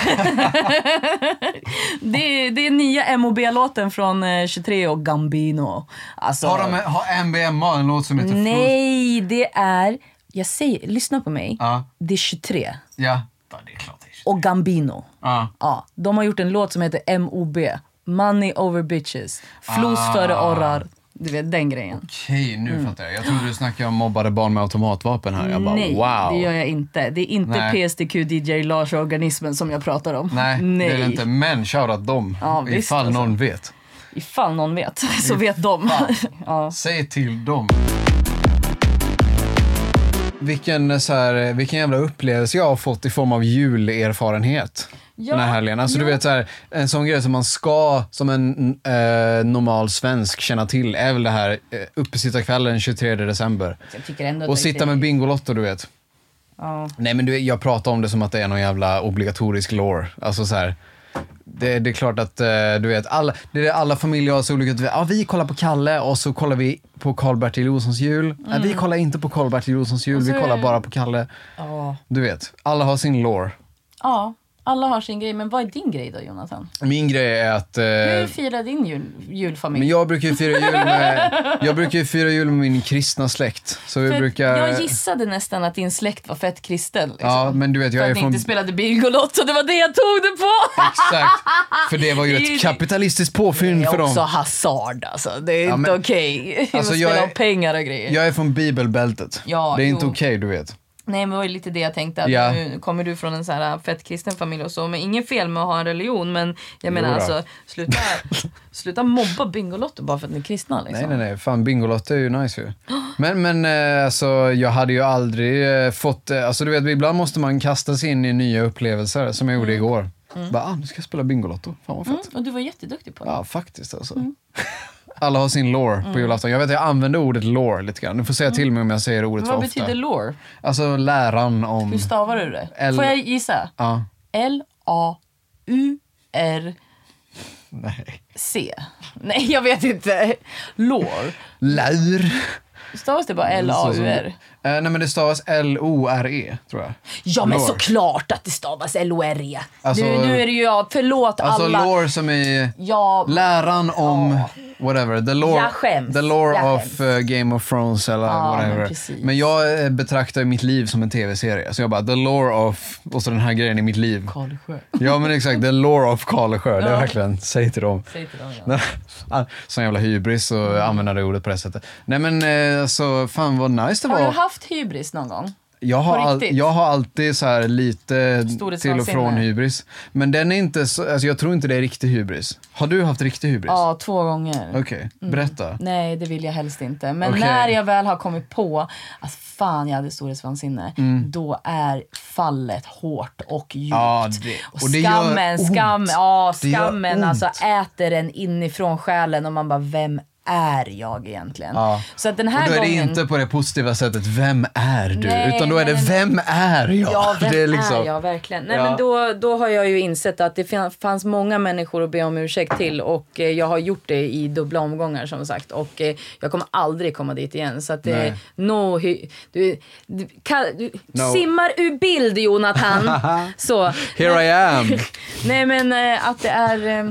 Speaker 2: det, är, det är nya MOB-låten från eh, 23 och Gambino. Alltså,
Speaker 1: Har, de, har MBMA en låt som heter Fools?
Speaker 2: nej, det är... Jag säger, lyssna på mig.
Speaker 1: Ja.
Speaker 2: Det är 23
Speaker 1: Ja. ja, det är klart det är.
Speaker 2: och Gambino.
Speaker 1: Ja.
Speaker 2: Ja, de har gjort en låt som heter MOB. Money over bitches. Flos
Speaker 1: Ah.
Speaker 2: före orrar. Du vet den grejen.
Speaker 1: Okej, nu fattar jag. Jag trodde du snackade om mobbade barn med automatvapen här. Jag bara
Speaker 2: Mm. Nej,
Speaker 1: wow.
Speaker 2: det gör jag inte. Det är inte
Speaker 1: Nej.
Speaker 2: PSTQ DJ Lars-organismen som jag pratar om.
Speaker 1: Nej, det är det inte. Men shoutout dem.
Speaker 2: Ja, visst,
Speaker 1: ifall
Speaker 2: alltså.
Speaker 1: någon vet.
Speaker 2: Ifall någon vet, så vet de. ja.
Speaker 1: Säg till dem. Vilken, så här, vilken jävla upplevelse jag har fått i form av julerfarenhet
Speaker 2: Ja,
Speaker 1: den här helgen. Alltså, du vet, så här, en sån grej som man ska, som en eh, normal svensk, känna till är väl det här eh, uppesittarkvällen 23 december.
Speaker 2: Jag tycker ändå att
Speaker 1: Och
Speaker 2: det-
Speaker 1: sitta med Bingolotto, du vet.
Speaker 2: Ja.
Speaker 1: Nej men du, jag pratar om det som att det är någon jävla obligatorisk lore. Alltså så här. Det, det är klart att eh, du vet, alla, det är det alla familjer har så olika. du vet, Ja, vi kollar på Kalle och så kollar vi på Karl-Bertil Jonssons jul. Nej, vi
Speaker 2: Mm.
Speaker 1: kollar inte på Karl-Bertil Jonssons jul, vi kollar bara på Kalle.
Speaker 2: Alltså, eh, Ja.
Speaker 1: Du vet, alla har sin lore.
Speaker 2: ja, alla har sin grej. Men vad är din grej då, Jonathan?
Speaker 1: Min grej är att... eh,
Speaker 2: Hur firar din jul, julfamilj?
Speaker 1: men jag brukar ju fira jul med, jag brukar ju fira jul med min kristna släkt. Så vi
Speaker 2: För att
Speaker 1: brukar...
Speaker 2: jag gissade nästan att din släkt var fett kristen. Liksom.
Speaker 1: Ja, men du vet, jag
Speaker 2: för
Speaker 1: är
Speaker 2: att ni
Speaker 1: från...
Speaker 2: inte spelade Bingolotto, det var det jag tog det på!
Speaker 1: Exakt. För det var ju
Speaker 2: Det är ju-
Speaker 1: ett kapitalistiskt påfynd
Speaker 2: Det
Speaker 1: för
Speaker 2: är
Speaker 1: dem.
Speaker 2: också hazard alltså, det är inte
Speaker 1: men-
Speaker 2: okej.
Speaker 1: Alltså,
Speaker 2: Alltså,
Speaker 1: jag
Speaker 2: spela
Speaker 1: är-
Speaker 2: om pengar och grejer.
Speaker 1: Jag är från bibelbältet.
Speaker 2: Ja,
Speaker 1: det är inte
Speaker 2: jo.
Speaker 1: okej, du vet.
Speaker 2: Nej men det var ju lite det jag tänkte. Att
Speaker 1: Ja.
Speaker 2: Nu kommer du från en så här äh, fett kristen familj och så. Men inget fel med att ha en religion. Men jag menar
Speaker 1: Jodå.
Speaker 2: alltså sluta, sluta mobba Bingolotto bara för att ni är kristna. Liksom.
Speaker 1: Nej, nej, nej. Fan, Bingolotto är ju nice ju. Men, men eh, alltså, jag hade ju aldrig eh, fått... eh, Alltså, du vet, ibland måste man kasta sig in i nya upplevelser, som jag gjorde igår. Bara, ah, nu ska jag spela Bingolotto. Fan vad fett.
Speaker 2: Mm, och du var jätteduktig på det.
Speaker 1: Ja, faktiskt alltså. Alla har sin lore på
Speaker 2: Mm.
Speaker 1: julafton. Jag vet att jag använder ordet lore lite grann. Du får säga till mig om jag säger ordet
Speaker 2: Vad
Speaker 1: för
Speaker 2: betyder
Speaker 1: ofta.
Speaker 2: lore?
Speaker 1: Alltså läran
Speaker 2: Hur
Speaker 1: om...
Speaker 2: stavar du det?
Speaker 1: L-
Speaker 2: Får jag gissa?
Speaker 1: Ja.
Speaker 2: L-A-U-R-C.
Speaker 1: Nej.
Speaker 2: Nej, jag vet inte. Lore.
Speaker 1: Lär.
Speaker 2: Stavas det bara
Speaker 1: Så som-
Speaker 2: L-A-U-R?
Speaker 1: Eh, nej men det stavas L-O-R-E E, tror jag.
Speaker 2: Ja men
Speaker 1: Lore.
Speaker 2: såklart att det stavas L-O-R-E.
Speaker 1: Alltså-
Speaker 2: du, E. nu är det ju jag, förlåt
Speaker 1: Alltså
Speaker 2: alla.
Speaker 1: lore som i
Speaker 2: Ja,
Speaker 1: läran om whatever. The lore,
Speaker 2: Jag skäms.
Speaker 1: The lore
Speaker 2: Jag
Speaker 1: of eh, Game of Thrones eller
Speaker 2: Ja, men
Speaker 1: whatever.
Speaker 2: precis.
Speaker 1: Men, jag eh, betraktar ju mitt liv som en tv-serie. Så jag bara, the lore of, och så den här grejen i mitt liv.
Speaker 2: Karlsjö.
Speaker 1: Ja men exakt, the lore of Karlsjö. Det är verkligen, säg till dem. Ah,
Speaker 2: Säg till dem, Mm. ja.
Speaker 1: Sån jävla hybris att använda det ordet på det sättet. Nej men eh, alltså, fan vad nice det
Speaker 2: Har du
Speaker 1: var.
Speaker 2: haft hybris någon gång?
Speaker 1: Jag har,
Speaker 2: På
Speaker 1: all,
Speaker 2: riktigt?
Speaker 1: jag har alltid så här lite till och
Speaker 2: Storhetsvansinne.
Speaker 1: från hybris. Men den är inte så, alltså jag tror inte det är riktig hybris. Har du haft riktig hybris?
Speaker 2: Ja, Mm. två gånger.
Speaker 1: Okej, berätta.
Speaker 2: Nej, det vill jag helst inte. Men
Speaker 1: Okej.
Speaker 2: när jag väl har kommit på att fan, jag hade storhetsvansinne, då är fallet hårt och djupt.
Speaker 1: Mm. Ja, det-
Speaker 2: och,
Speaker 1: och det gör
Speaker 2: skammen,
Speaker 1: ont.
Speaker 2: skam, ja,
Speaker 1: Det gör
Speaker 2: skammen
Speaker 1: ont.
Speaker 2: alltså äter en inifrån själen och man bara, vem är jag egentligen?
Speaker 1: Ja.
Speaker 2: Så att den
Speaker 1: Och
Speaker 2: här
Speaker 1: då är det
Speaker 2: gången...
Speaker 1: inte på det positiva sättet, vem är du?
Speaker 2: Nej,
Speaker 1: Utan då är
Speaker 2: nej,
Speaker 1: det,
Speaker 2: nej, nej.
Speaker 1: vem är jag?
Speaker 2: Ja, vem
Speaker 1: det
Speaker 2: är,
Speaker 1: är liksom,
Speaker 2: jag verkligen? Nej,
Speaker 1: Ja.
Speaker 2: men då, då har jag ju insett att det fin- fanns många människor att be om ursäkt till och eh, jag har gjort det i dubbla omgångar som sagt och eh, jag kommer aldrig komma dit igen. Så att eh,
Speaker 1: Nej.
Speaker 2: no, hy- du, du, kan, du
Speaker 1: No.
Speaker 2: simmar ur bild Jonathan. så.
Speaker 1: Here I am.
Speaker 2: Nej men eh, att det är... Eh,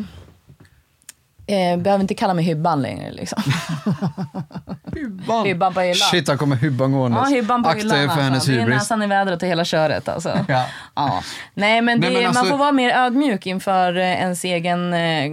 Speaker 2: Eh, behöver inte kalla mig Hybban längre liksom.
Speaker 1: Hubban.
Speaker 2: Hubban på hyllan.
Speaker 1: Shit, här kommer hubban gående.
Speaker 2: Ja, Hybban på
Speaker 1: Akta
Speaker 2: hyllan
Speaker 1: er för hennes
Speaker 2: alltså. Det är
Speaker 1: hybris.
Speaker 2: näsan i vädret och hela köret alltså.
Speaker 1: Ja.
Speaker 2: Ja. Nej, men, det,
Speaker 1: Nej, men alltså-
Speaker 2: man får vara mer ödmjuk inför eh, ens egen eh,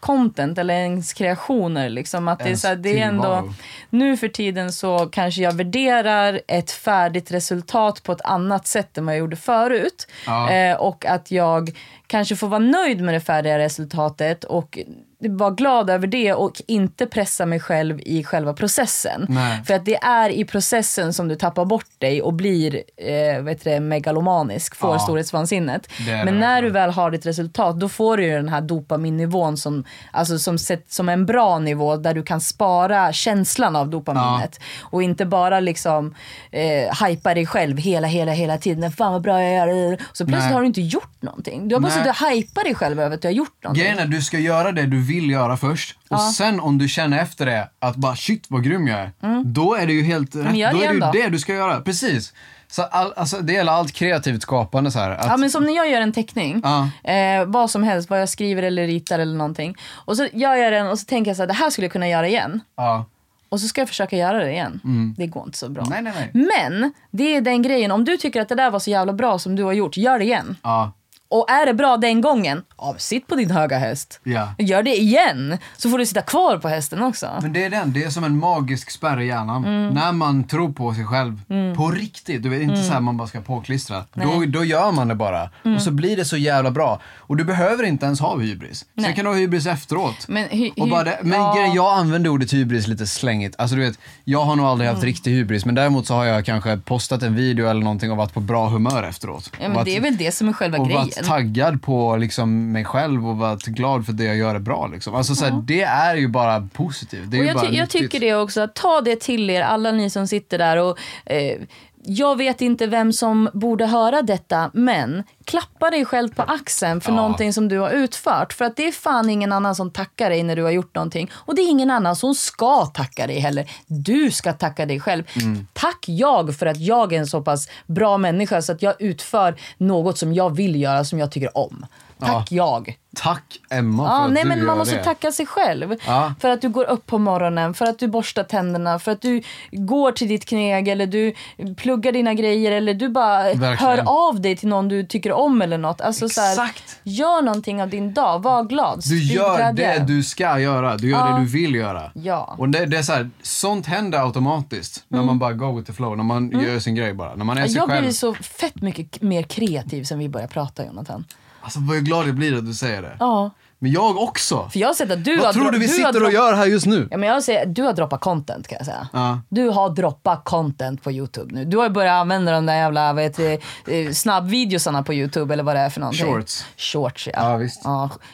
Speaker 2: content eller ens kreationer. Liksom. Att det, är
Speaker 1: Ens
Speaker 2: så här, det är ändå,
Speaker 1: tillvaro.
Speaker 2: nu för tiden så kanske jag värderar ett färdigt resultat på ett annat sätt än vad jag gjorde förut.
Speaker 1: Ja.
Speaker 2: Eh, och att jag kanske får vara nöjd med det färdiga resultatet och vara glad över det och inte pressa mig själv i själva processen.
Speaker 1: Nej.
Speaker 2: För att det är i processen som du tappar bort dig och blir eh, vet det, megalomanisk, får
Speaker 1: Ja.
Speaker 2: storhetsvansinnet.
Speaker 1: Det är det
Speaker 2: Men när du
Speaker 1: verkligen.
Speaker 2: väl har ditt resultat då får du ju den här dopaminnivån som, alltså, som, sett, som en bra nivå där du kan spara känslan av dopaminet. Och inte bara liksom eh, hypa dig själv hela, hela, hela tiden. Fan vad bra jag gör. Så plötsligt
Speaker 1: Nej.
Speaker 2: har du inte gjort någonting. Du har bara
Speaker 1: Nej.
Speaker 2: suttit och hypat dig själv över att du har gjort någonting.
Speaker 1: Grejen är, du ska göra det du vill göra först. Och sen om du känner efter det att bara shit vad grym jag är. Då är det ju helt rätt.
Speaker 2: Mm. gör
Speaker 1: Då
Speaker 2: det
Speaker 1: är det ju
Speaker 2: ändå.
Speaker 1: det du ska göra. Precis. Så all, alltså, det gäller allt kreativt skapande så här. Att,
Speaker 2: Ja men som när jag gör en teckning,
Speaker 1: Ja.
Speaker 2: eh, vad som helst, vad jag skriver eller ritar eller någonting. Och så gör jag den och så tänker jag så här, det här skulle jag kunna göra igen.
Speaker 1: ja.
Speaker 2: Och så ska jag försöka göra det igen. Det går inte så bra.
Speaker 1: Mm. Nej, nej, nej.
Speaker 2: Men det är den grejen, om du tycker att det där var så jävla bra som du har gjort, gör det igen.
Speaker 1: Ja.
Speaker 2: Och är det bra den gången, ja, sitt på din höga häst.
Speaker 1: Ja.
Speaker 2: Gör det igen, så får du sitta kvar på hästen också.
Speaker 1: Men det är den, det är som en magisk spärr i hjärnan.
Speaker 2: Mm.
Speaker 1: När man tror på sig själv på riktigt, du vet inte så här man bara ska påklistra. Då, då gör man det bara
Speaker 2: Mm.
Speaker 1: och så blir det så jävla bra. Och du behöver inte ens ha hybris. Sen kan du ha hybris efteråt.
Speaker 2: Men hy-
Speaker 1: och bara det, men
Speaker 2: ja.
Speaker 1: grejen, jag använder ordet hybris lite slängigt. Alltså du vet, jag har nog aldrig
Speaker 2: Mm.
Speaker 1: haft riktig hybris men däremot så har jag kanske postat en video eller någonting och varit på bra humör efteråt.
Speaker 2: Ja,
Speaker 1: Och
Speaker 2: men
Speaker 1: varit-
Speaker 2: det är väl det som är själva
Speaker 1: och
Speaker 2: grejen.
Speaker 1: varit taggad på liksom mig själv och varit glad för det jag gör är bra. Liksom. Alltså, så här, Det är ju bara positivt. Det är
Speaker 2: Och
Speaker 1: ju
Speaker 2: jag,
Speaker 1: bara
Speaker 2: ty- jag
Speaker 1: nyttigt.
Speaker 2: tycker det också, att ta det till er alla ni som sitter där och eh, jag vet inte vem som borde höra detta, men klappa dig själv på axeln för
Speaker 1: Ja.
Speaker 2: någonting som du har utfört. För att det är fan ingen annan som tackar dig när du har gjort någonting. Och det är ingen annan som ska tacka dig heller. Du ska tacka dig själv.
Speaker 1: Mm.
Speaker 2: Tack jag för att jag är en så pass bra människa så att jag utför något som jag vill göra, som jag tycker om. Tack jag.
Speaker 1: Tack Emma för
Speaker 2: Ja,
Speaker 1: att
Speaker 2: nej,
Speaker 1: du
Speaker 2: men
Speaker 1: gör
Speaker 2: man måste
Speaker 1: det.
Speaker 2: tacka sig själv.
Speaker 1: Ja.
Speaker 2: För att du går upp på morgonen, för att du borstar tänderna, för att du går till ditt kneg eller du pluggar dina grejer eller du bara
Speaker 1: Verkligen.
Speaker 2: hör av dig till någon du tycker om eller något. Alltså, Så här,
Speaker 1: Exakt.
Speaker 2: gör någonting av din dag, var glad.
Speaker 1: Du
Speaker 2: sprid
Speaker 1: gör
Speaker 2: glädje.
Speaker 1: det du ska göra. Du gör det du vill göra.
Speaker 2: Ja. Mm.
Speaker 1: Och det, det är så här, sånt händer automatiskt när man bara go with the flow. När man gör sin grej bara. När man är sig
Speaker 2: Jag
Speaker 1: själv.
Speaker 2: blir så fett mycket k- mer kreativ sen vi började prata Jonathan.
Speaker 1: Alltså vad jag glad jag blir att du säger det.
Speaker 2: Ja.
Speaker 1: Men jag också.
Speaker 2: För jag har sett att du har
Speaker 1: Vad tror
Speaker 2: dro-
Speaker 1: du vi
Speaker 2: har
Speaker 1: sitter
Speaker 2: dro-
Speaker 1: och gör här just nu?
Speaker 2: Ja, men jag säger, du har droppat content kan jag säga.
Speaker 1: Ja.
Speaker 2: Du har droppat content på Youtube nu. Du har ju börjat använda de där jävla vad heter det, eh, snabbvideosarna på Youtube eller vad det är för någonting.
Speaker 1: Shorts.
Speaker 2: Shorts ja.
Speaker 1: Ja, visst.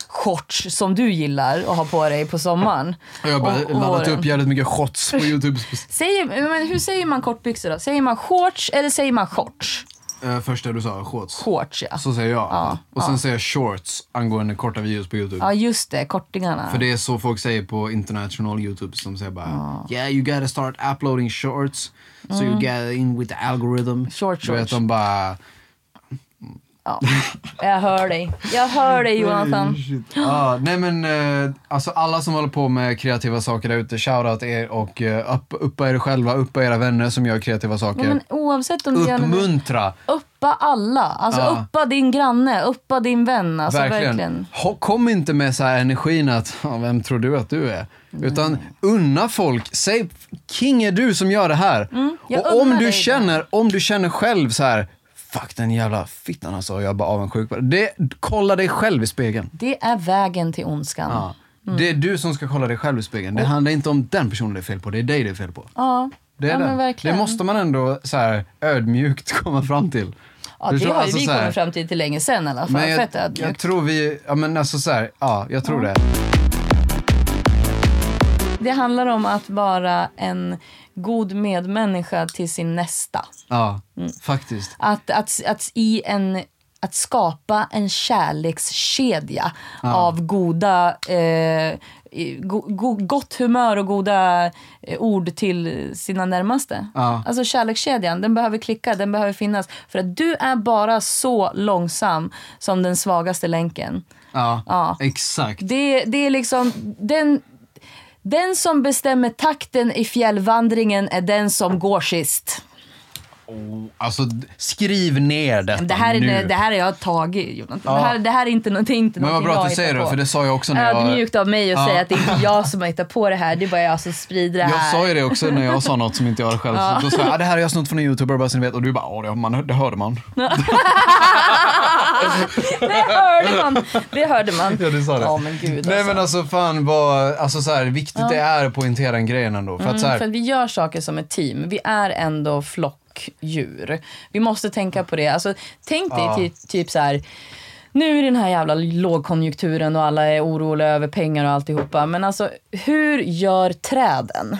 Speaker 2: shorts som du gillar och har på dig på sommaren.
Speaker 1: Och jag har bara
Speaker 2: Och- och
Speaker 1: laddat
Speaker 2: våren.
Speaker 1: upp jävligt mycket shots på Youtube
Speaker 2: Säger, men hur säger man kortbyxor då? Säger man shorts eller säger man shorts?
Speaker 1: eh, första du sa, shorts.
Speaker 2: Shorts ja.
Speaker 1: Så säger jag. och sen säger jag shorts angående korta videos på Youtube.
Speaker 2: Ja just det, kortingarna.
Speaker 1: För det är så folk säger på international Youtube som säger bara Yeah you gotta start uploading shorts so you get in with the algorithm.
Speaker 2: Mm. Short
Speaker 1: Du vet
Speaker 2: shorts.
Speaker 1: de bara...
Speaker 2: Ja. Jag hör dig. Jag hör dig Jonathan.
Speaker 1: Ja, "Ah, nej men eh, alltså alla som håller på med kreativa saker där ute, shoutout er och eh, upp, uppa er själva, uppa era vänner som gör kreativa saker.
Speaker 2: Ja, men oavsett om du gör något-
Speaker 1: Uppmuntra!
Speaker 2: Uppa alla. Alltså
Speaker 1: Ja.
Speaker 2: uppa din granne, uppa din vän. Alltså, verkligen.
Speaker 1: Ho- Kom inte med så här energin att "Ja, vem tror du att du är? Utan unna folk, säg king är du som gör det här.
Speaker 2: Mm, jag
Speaker 1: och om
Speaker 2: unnar dig
Speaker 1: du
Speaker 2: det.
Speaker 1: känner, om du känner själv så här Fuck den jävla fittan alltså, jag är bara avundsjuk på det. det. Kolla dig själv i spegeln.
Speaker 2: Det är vägen till ondskan. Ja.
Speaker 1: Ja. Det är du som ska kolla dig själv i spegeln. Det handlar inte om den personen det är fel på, det är dig det är fel på. Det, är
Speaker 2: ja, men
Speaker 1: den.
Speaker 2: verkligen.
Speaker 1: det måste man ändå så här, ödmjukt komma fram till.
Speaker 2: ja, det
Speaker 1: Förstår?
Speaker 2: har ju
Speaker 1: Alltså
Speaker 2: vi
Speaker 1: så här-
Speaker 2: kommit fram till till länge sen i alla fall.
Speaker 1: Men jag,
Speaker 2: Fett ödmjukt.
Speaker 1: jag tror vi, ja men alltså så här, ja jag tror det.
Speaker 2: Det handlar om att vara en god medmänniska till sin nästa.
Speaker 1: Ja,
Speaker 2: Mm.
Speaker 1: faktiskt.
Speaker 2: Att, att, att, i en, att skapa en kärlekskedja av goda, eh, i- go, go, gott humör och goda eh, ord till sina närmaste.
Speaker 1: Ja.
Speaker 2: Alltså kärlekskedjan, den behöver klicka, den behöver finnas. För att du är bara så långsam som den svagaste länken.
Speaker 1: Ja,
Speaker 2: Ja.
Speaker 1: exakt.
Speaker 2: Det, det är liksom den... Den som bestämmer takten i fjällvandringen är den som går sist.
Speaker 1: Alltså d- skriv ner detta
Speaker 2: Det här
Speaker 1: nu.
Speaker 2: är, det här är jag tagit Jonathan.
Speaker 1: Ja.
Speaker 2: Det, här, det här är inte någonting, inte
Speaker 1: men vad
Speaker 2: någonting
Speaker 1: bra att
Speaker 2: jag
Speaker 1: du säger
Speaker 2: hittar
Speaker 1: det,
Speaker 2: på.
Speaker 1: för det sa jag också när jag...
Speaker 2: Ödmjukt av mig att
Speaker 1: Ja.
Speaker 2: säga att det är inte jag som har hittat på det här, det är bara jag som sprider det
Speaker 1: Jag
Speaker 2: här.
Speaker 1: sa ju det också när jag sa något som inte jag hade själv. Så då sa jag, ah, det här har jag snott från en youtuber bara så ni vet. Och du bara, ja det, man, det hörde man.
Speaker 2: Det hörde man! Det hörde man.
Speaker 1: Ja, du sa det.
Speaker 2: Ja, men gud
Speaker 1: Nej
Speaker 2: alltså.
Speaker 1: men alltså fan vad, alltså så här, viktigt det är att poängtera en grej ändå. För att alltså, så här,
Speaker 2: Mm, För att vi gör saker som ett team. Vi är ändå flockdjur. Vi måste tänka på det. Alltså, tänk dig
Speaker 1: Ja.
Speaker 2: ty, typ så här. Nu är den här jävla lågkonjunkturen och alla är oroliga över pengar och alltihopa. Men alltså, hur gör träden?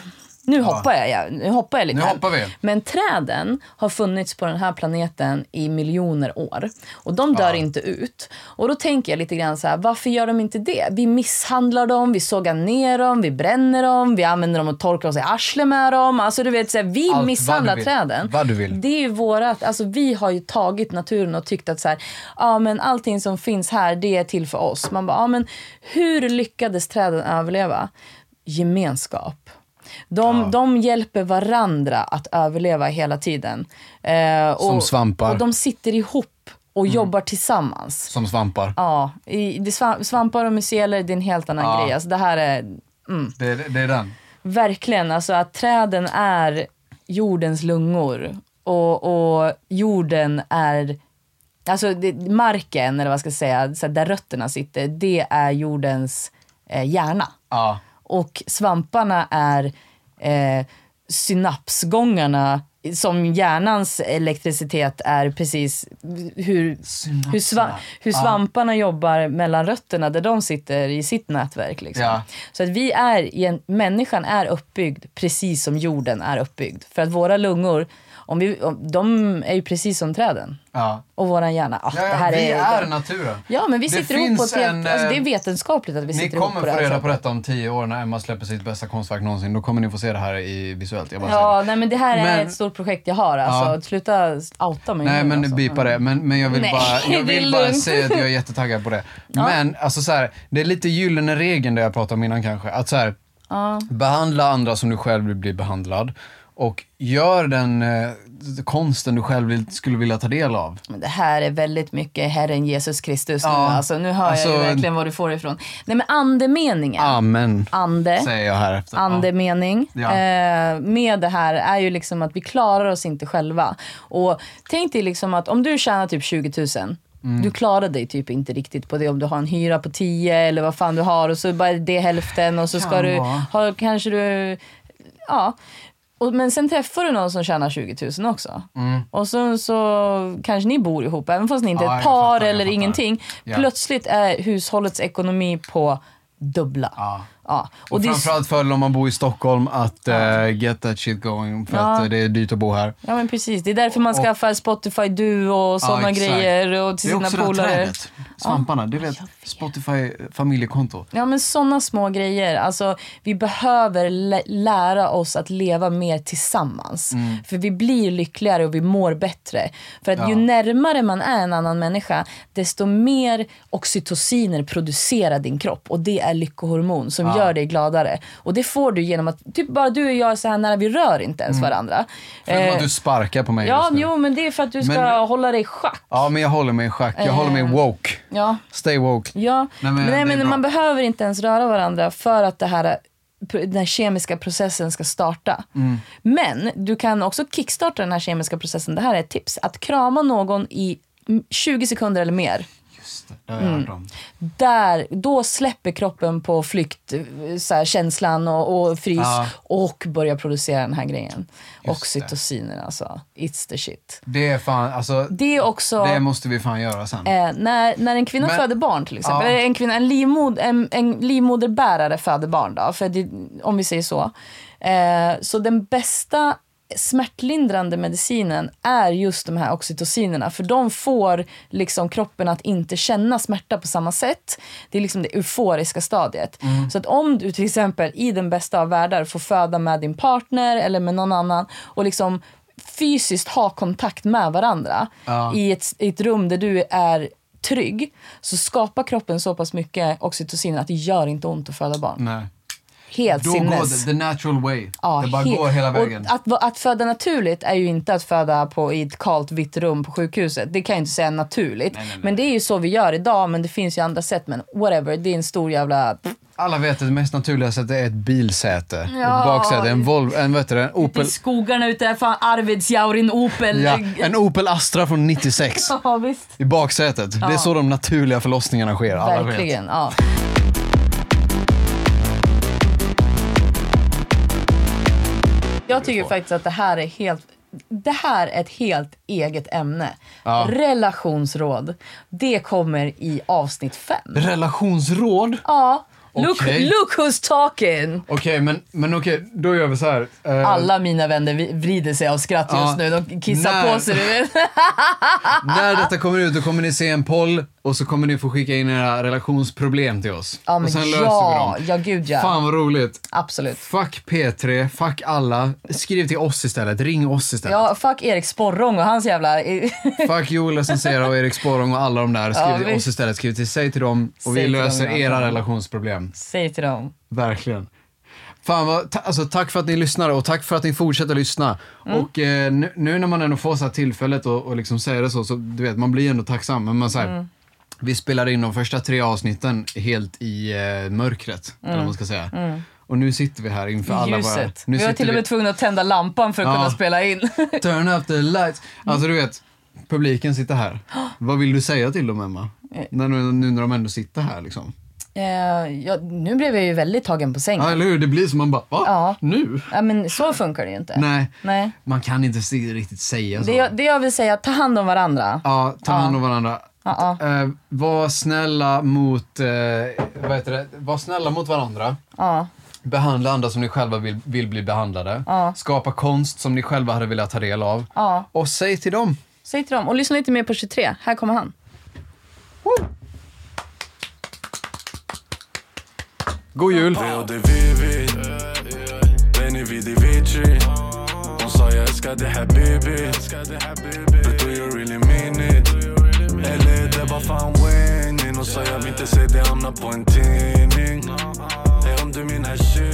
Speaker 2: Nu hoppar jag, ja. nu hoppar jag lite.
Speaker 1: Nu
Speaker 2: här.
Speaker 1: hoppar vi.
Speaker 2: Men träden har funnits på den här planeten i miljoner år. Och de dör inte ut. Och då tänker jag lite grann så här, varför gör de inte det? Vi misshandlar dem, vi sågar ner dem, vi bränner dem, vi använder dem och torkar oss i arslet med dem. Alltså du vet, så här, vi
Speaker 1: vad du
Speaker 2: misshandlar
Speaker 1: vill.
Speaker 2: träden.
Speaker 1: Vad du vill.
Speaker 2: Det är ju vårat, alltså vi har ju tagit naturen och tyckt att så här, ja men allting som finns här det är till för oss. Man bara, ja men hur lyckades träden överleva? Gemenskap. De, de hjälper varandra att överleva hela tiden. Eh, och,
Speaker 1: Som svampar. Mm.
Speaker 2: Och de sitter ihop och jobbar tillsammans.
Speaker 1: som svampar.
Speaker 2: Ja, i, det svamp, svampar och myceler det är en helt annan
Speaker 1: Ja.
Speaker 2: grej. Alltså det här är mm.
Speaker 1: Det, det är den.
Speaker 2: Verkligen, alltså att träden är jordens lungor och, och jorden är, alltså det, marken eller vad ska jag säga, så här, där rötterna sitter, det är jordens eh, hjärna.
Speaker 1: Ja.
Speaker 2: Och svamparna är eh, synapsgångarna som hjärnans elektricitet är precis hur, hur, sva, hur svamparna jobbar mellan rötterna där de sitter i sitt nätverk. Liksom.
Speaker 1: Ja.
Speaker 2: Så att vi är, i en- människan är uppbyggd precis som jorden är uppbyggd. För att våra lungor, om vi, om, de är ju precis som träden.
Speaker 1: Ja.
Speaker 2: Och våran hjärna. Ah,
Speaker 1: Ja,
Speaker 2: det här
Speaker 1: vi
Speaker 2: är,
Speaker 1: är, naturen.
Speaker 2: Ja, men vi
Speaker 1: Det
Speaker 2: sitter ihop
Speaker 1: finns
Speaker 2: på ett helt...
Speaker 1: en,
Speaker 2: alltså, det är
Speaker 1: eh,
Speaker 2: vetenskapligt att vi
Speaker 1: Ni
Speaker 2: sitter ihop
Speaker 1: kommer
Speaker 2: på
Speaker 1: få
Speaker 2: det här
Speaker 1: reda på
Speaker 2: sättet.
Speaker 1: detta om tio år när Emma släpper sitt bästa konstverk någonsin. Då kommer ni få se det här i visuellt. Jag bara säger
Speaker 2: Ja,
Speaker 1: det.
Speaker 2: nej men det här är
Speaker 1: Men-
Speaker 2: ett stort projekt jag har. Alltså,
Speaker 1: Ja.
Speaker 2: Sluta outa mig.
Speaker 1: Nej
Speaker 2: nu,
Speaker 1: men
Speaker 2: alltså.
Speaker 1: bipa det. Men, men jag vill,
Speaker 2: Nej,
Speaker 1: bara, jag
Speaker 2: det är
Speaker 1: vill bara
Speaker 2: lugnt.
Speaker 1: säga att jag är jättetaggad på det. Men alltså så här, det är lite gyllene regeln det jag pratade om innan kanske. Att så här, behandla andra som du själv vill bli behandlad. Och gör den eh, konsten du själv vill, skulle vilja ta del av.
Speaker 2: Men det här är väldigt mycket Herren Jesus Kristus nu.
Speaker 1: Ja.
Speaker 2: Alltså, nu hör jag
Speaker 1: Alltså-
Speaker 2: ju verkligen var du får det ifrån. Nej men andemeningen.
Speaker 1: Amen,
Speaker 2: Ande.
Speaker 1: säger jag här efter.
Speaker 2: andemening
Speaker 1: Ja.
Speaker 2: eh, med det här är ju liksom att vi klarar oss inte själva. Och tänk dig liksom att om du tjänar typ 20 000
Speaker 1: Mm.
Speaker 2: Du klarar dig typ inte riktigt på det om du har en hyra på 10 eller vad fan du har och så bara det hälften och så ska
Speaker 1: Kan
Speaker 2: du,
Speaker 1: vara.
Speaker 2: ha, kanske du, ja. Och, men sen träffar du någon som tjänar 20 000 också. Och sen så kanske ni bor ihop även fast ni inte
Speaker 1: Mm. Ja, jag
Speaker 2: är ett par
Speaker 1: fattar, jag
Speaker 2: eller
Speaker 1: fattar.
Speaker 2: ingenting.
Speaker 1: Ja.
Speaker 2: Plötsligt är hushållets ekonomi på dubbla.
Speaker 1: Ja.
Speaker 2: Ja.
Speaker 1: Och,
Speaker 2: det är-
Speaker 1: framförallt fördel om man bor i Stockholm att eh, get that shit going för att
Speaker 2: Ja.
Speaker 1: eh, det är dyrt att bo här.
Speaker 2: Ja men precis, det är därför man
Speaker 1: Och-
Speaker 2: skaffar Spotify Duo och sådana
Speaker 1: exakt.
Speaker 2: grejer och till sina polare.
Speaker 1: svamparna, du vet, Spotify familjekonto.
Speaker 2: Ja men sådana små grejer. Alltså vi behöver lä- lära oss att leva mer tillsammans. För vi blir lyckligare och vi mår bättre. För att ju
Speaker 1: Mm. Ja.
Speaker 2: närmare man är en annan människa desto mer oxytociner producerar din kropp. Och det är lyckohormon som
Speaker 1: Ja.
Speaker 2: gör dig gladare. Och det får du genom att, typ bara du och jag är så här nära, vi rör inte ens varandra.
Speaker 1: Mm. Förutom
Speaker 2: Eh,
Speaker 1: att du sparkar på mig
Speaker 2: Ja,
Speaker 1: just nu.
Speaker 2: jo, men det är för att du ska
Speaker 1: Men-
Speaker 2: hålla dig i schack.
Speaker 1: Ja, men jag håller mig i schack. Jag håller mig
Speaker 2: Eh.
Speaker 1: woke.
Speaker 2: Ja,
Speaker 1: Stay woke.
Speaker 2: ja.
Speaker 1: Nej, men
Speaker 2: men,
Speaker 1: det är
Speaker 2: nej, men
Speaker 1: bra.
Speaker 2: man behöver inte ens röra varandra för att det här, den här kemiska processen ska starta.
Speaker 1: Mm.
Speaker 2: Men du kan också kickstarta den här kemiska processen. Det här är ett tips. Att krama någon i mm, 20 sekunder eller mer.
Speaker 1: Just det, det har jag hört
Speaker 2: Mm.
Speaker 1: om.
Speaker 2: Där, då släpper kroppen på flykt, eh, så här, känslan och, och frys
Speaker 1: Ja.
Speaker 2: och börjar producera den här grejen.
Speaker 1: Just
Speaker 2: Oxytociner alltså. It's the shit.
Speaker 1: Det är fan, alltså,
Speaker 2: Det är också...
Speaker 1: det måste vi fan göra sen.
Speaker 2: Eh, när, när en kvinna
Speaker 1: Men-
Speaker 2: föder barn till exempel,
Speaker 1: Ja.
Speaker 2: eller en, kvinna, en, livmod, en, en livmoderbärare föder barn då, för det, om vi säger så. Eh, så den bästa smärtlindrande medicinen är just de här oxytocinerna för de får liksom kroppen att inte känna smärta på samma sätt. Det är liksom det euforiska stadiet.
Speaker 1: Mm.
Speaker 2: Så att om du till exempel i den bästa av världar får föda med din partner eller med någon annan och liksom fysiskt ha kontakt med varandra
Speaker 1: Ja.
Speaker 2: i, ett, i ett rum där du är trygg så skapar kroppen så pass mycket oxytocin att det gör inte ont att föda barn.
Speaker 1: Nej.
Speaker 2: Helt
Speaker 1: eh, Då går
Speaker 2: sinnes.
Speaker 1: det, the natural way.
Speaker 2: Ja,
Speaker 1: det bara
Speaker 2: helt-
Speaker 1: går hela vägen.
Speaker 2: Och att, va- att föda naturligt är ju inte att föda på, i ett kallt vitt rum på sjukhuset. Det kan jag inte säga naturligt. Men det är ju så vi gör idag, men det finns ju andra sätt. Men whatever, det är en stor jävla...
Speaker 1: Alla vet att det mest naturliga sättet är ett bilsäte.
Speaker 2: Ja.
Speaker 1: Ett baksäte, en Volvo, en, vad heter det, en Opel.
Speaker 2: skogarna ute, fan Arvidsjaur, en Opel.
Speaker 1: Ja, en Opel Astra från 96.
Speaker 2: ja visst.
Speaker 1: I baksätet. Det är så de naturliga förlossningarna sker. Alla vet.
Speaker 2: Verkligen, ja. Jag tycker faktiskt att det här är helt det här är ett helt eget ämne.
Speaker 1: Ja.
Speaker 2: Relationsråd. Det kommer i avsnitt fem.
Speaker 1: Relationsråd?
Speaker 2: Ja. Look,
Speaker 1: Okej.
Speaker 2: look who's talking!
Speaker 1: Okej, men, men okej, då gör vi så här. Eh,
Speaker 2: Alla mina vänner vi- vrider sig av skratt
Speaker 1: Ja.
Speaker 2: just nu. De kissar
Speaker 1: Nej.
Speaker 2: på sig. du vet.
Speaker 1: När detta kommer ut, då kommer ni se en poll och så kommer ni få skicka in era relationsproblem till oss.
Speaker 2: Ja, men
Speaker 1: och sen
Speaker 2: ja.
Speaker 1: löser vi dem.
Speaker 2: Ja, gud ja.
Speaker 1: Fan vad roligt.
Speaker 2: Absolut.
Speaker 1: Fuck P3, fuck alla. Skriv till oss istället, ring oss istället.
Speaker 2: Ja, fuck Erik Sporrong och hans jävla...
Speaker 1: Fuck Joel Essensera och Erik Sporrong och alla de där. Skriv
Speaker 2: Ja,
Speaker 1: till
Speaker 2: visst.
Speaker 1: oss istället, skriv till säg till dem och
Speaker 2: Säg
Speaker 1: vi
Speaker 2: till dem,
Speaker 1: löser
Speaker 2: ja.
Speaker 1: era relationsproblem.
Speaker 2: Säg till dem.
Speaker 1: Verkligen. Fan vad, ta, alltså, tack för att ni lyssnar och tack för att ni fortsätter lyssna.
Speaker 2: Mm.
Speaker 1: Och eh, nu, nu när man ändå får så här tillfället och, och liksom säga det så, så du vet, man blir ändå tacksam. Men man så här,
Speaker 2: Mm.
Speaker 1: Vi spelade in de första tre avsnitten helt i eh, mörkret, eller vad man ska säga. Och nu sitter vi här inför alla våra...
Speaker 2: Mm. Ljuset.
Speaker 1: Nu
Speaker 2: vi var
Speaker 1: sitter
Speaker 2: till och med tvungna att tända lampan för att
Speaker 1: Ja.
Speaker 2: kunna spela in.
Speaker 1: Turn up the lights.
Speaker 2: Mm.
Speaker 1: Alltså du vet, publiken sitter här. Vad vill du säga till dem, Emma? När, nu, nu när de ändå sitter här liksom.
Speaker 2: Mm. Eh, ja, nu blev jag ju väldigt tagen på
Speaker 1: Ja,
Speaker 2: sängen.
Speaker 1: eller hur? Det blir som man bara, va?
Speaker 2: Ja.
Speaker 1: Nu?
Speaker 2: Ja, men så funkar det ju inte.
Speaker 1: Nej.
Speaker 2: Nej.
Speaker 1: Man kan inte se- riktigt säga så.
Speaker 2: Det, jag, det jag vill säga, ta hand om varandra.
Speaker 1: Ja, ta hand om varandra.
Speaker 2: Ja,
Speaker 1: Eh, var snälla mot, eh, vad heter det, var snälla mot varandra.
Speaker 2: Ja.
Speaker 1: Behandla andra som ni själva vill, vill bli behandlade. Skapa konst som ni själva hade velat ta del av.
Speaker 2: Ja.
Speaker 1: Och säg till dem
Speaker 2: Säg till dem. Och lyssna lite mer på 23. Här kommer han.
Speaker 1: God jul!
Speaker 4: Vi hade Vivi, Benny Vidi Vici Hon sa jag älskar det här baby But do you really mean it? E Eller det var fan E winning Hon sa jag vill inte se det hamna på en tidning Är om du min här shit e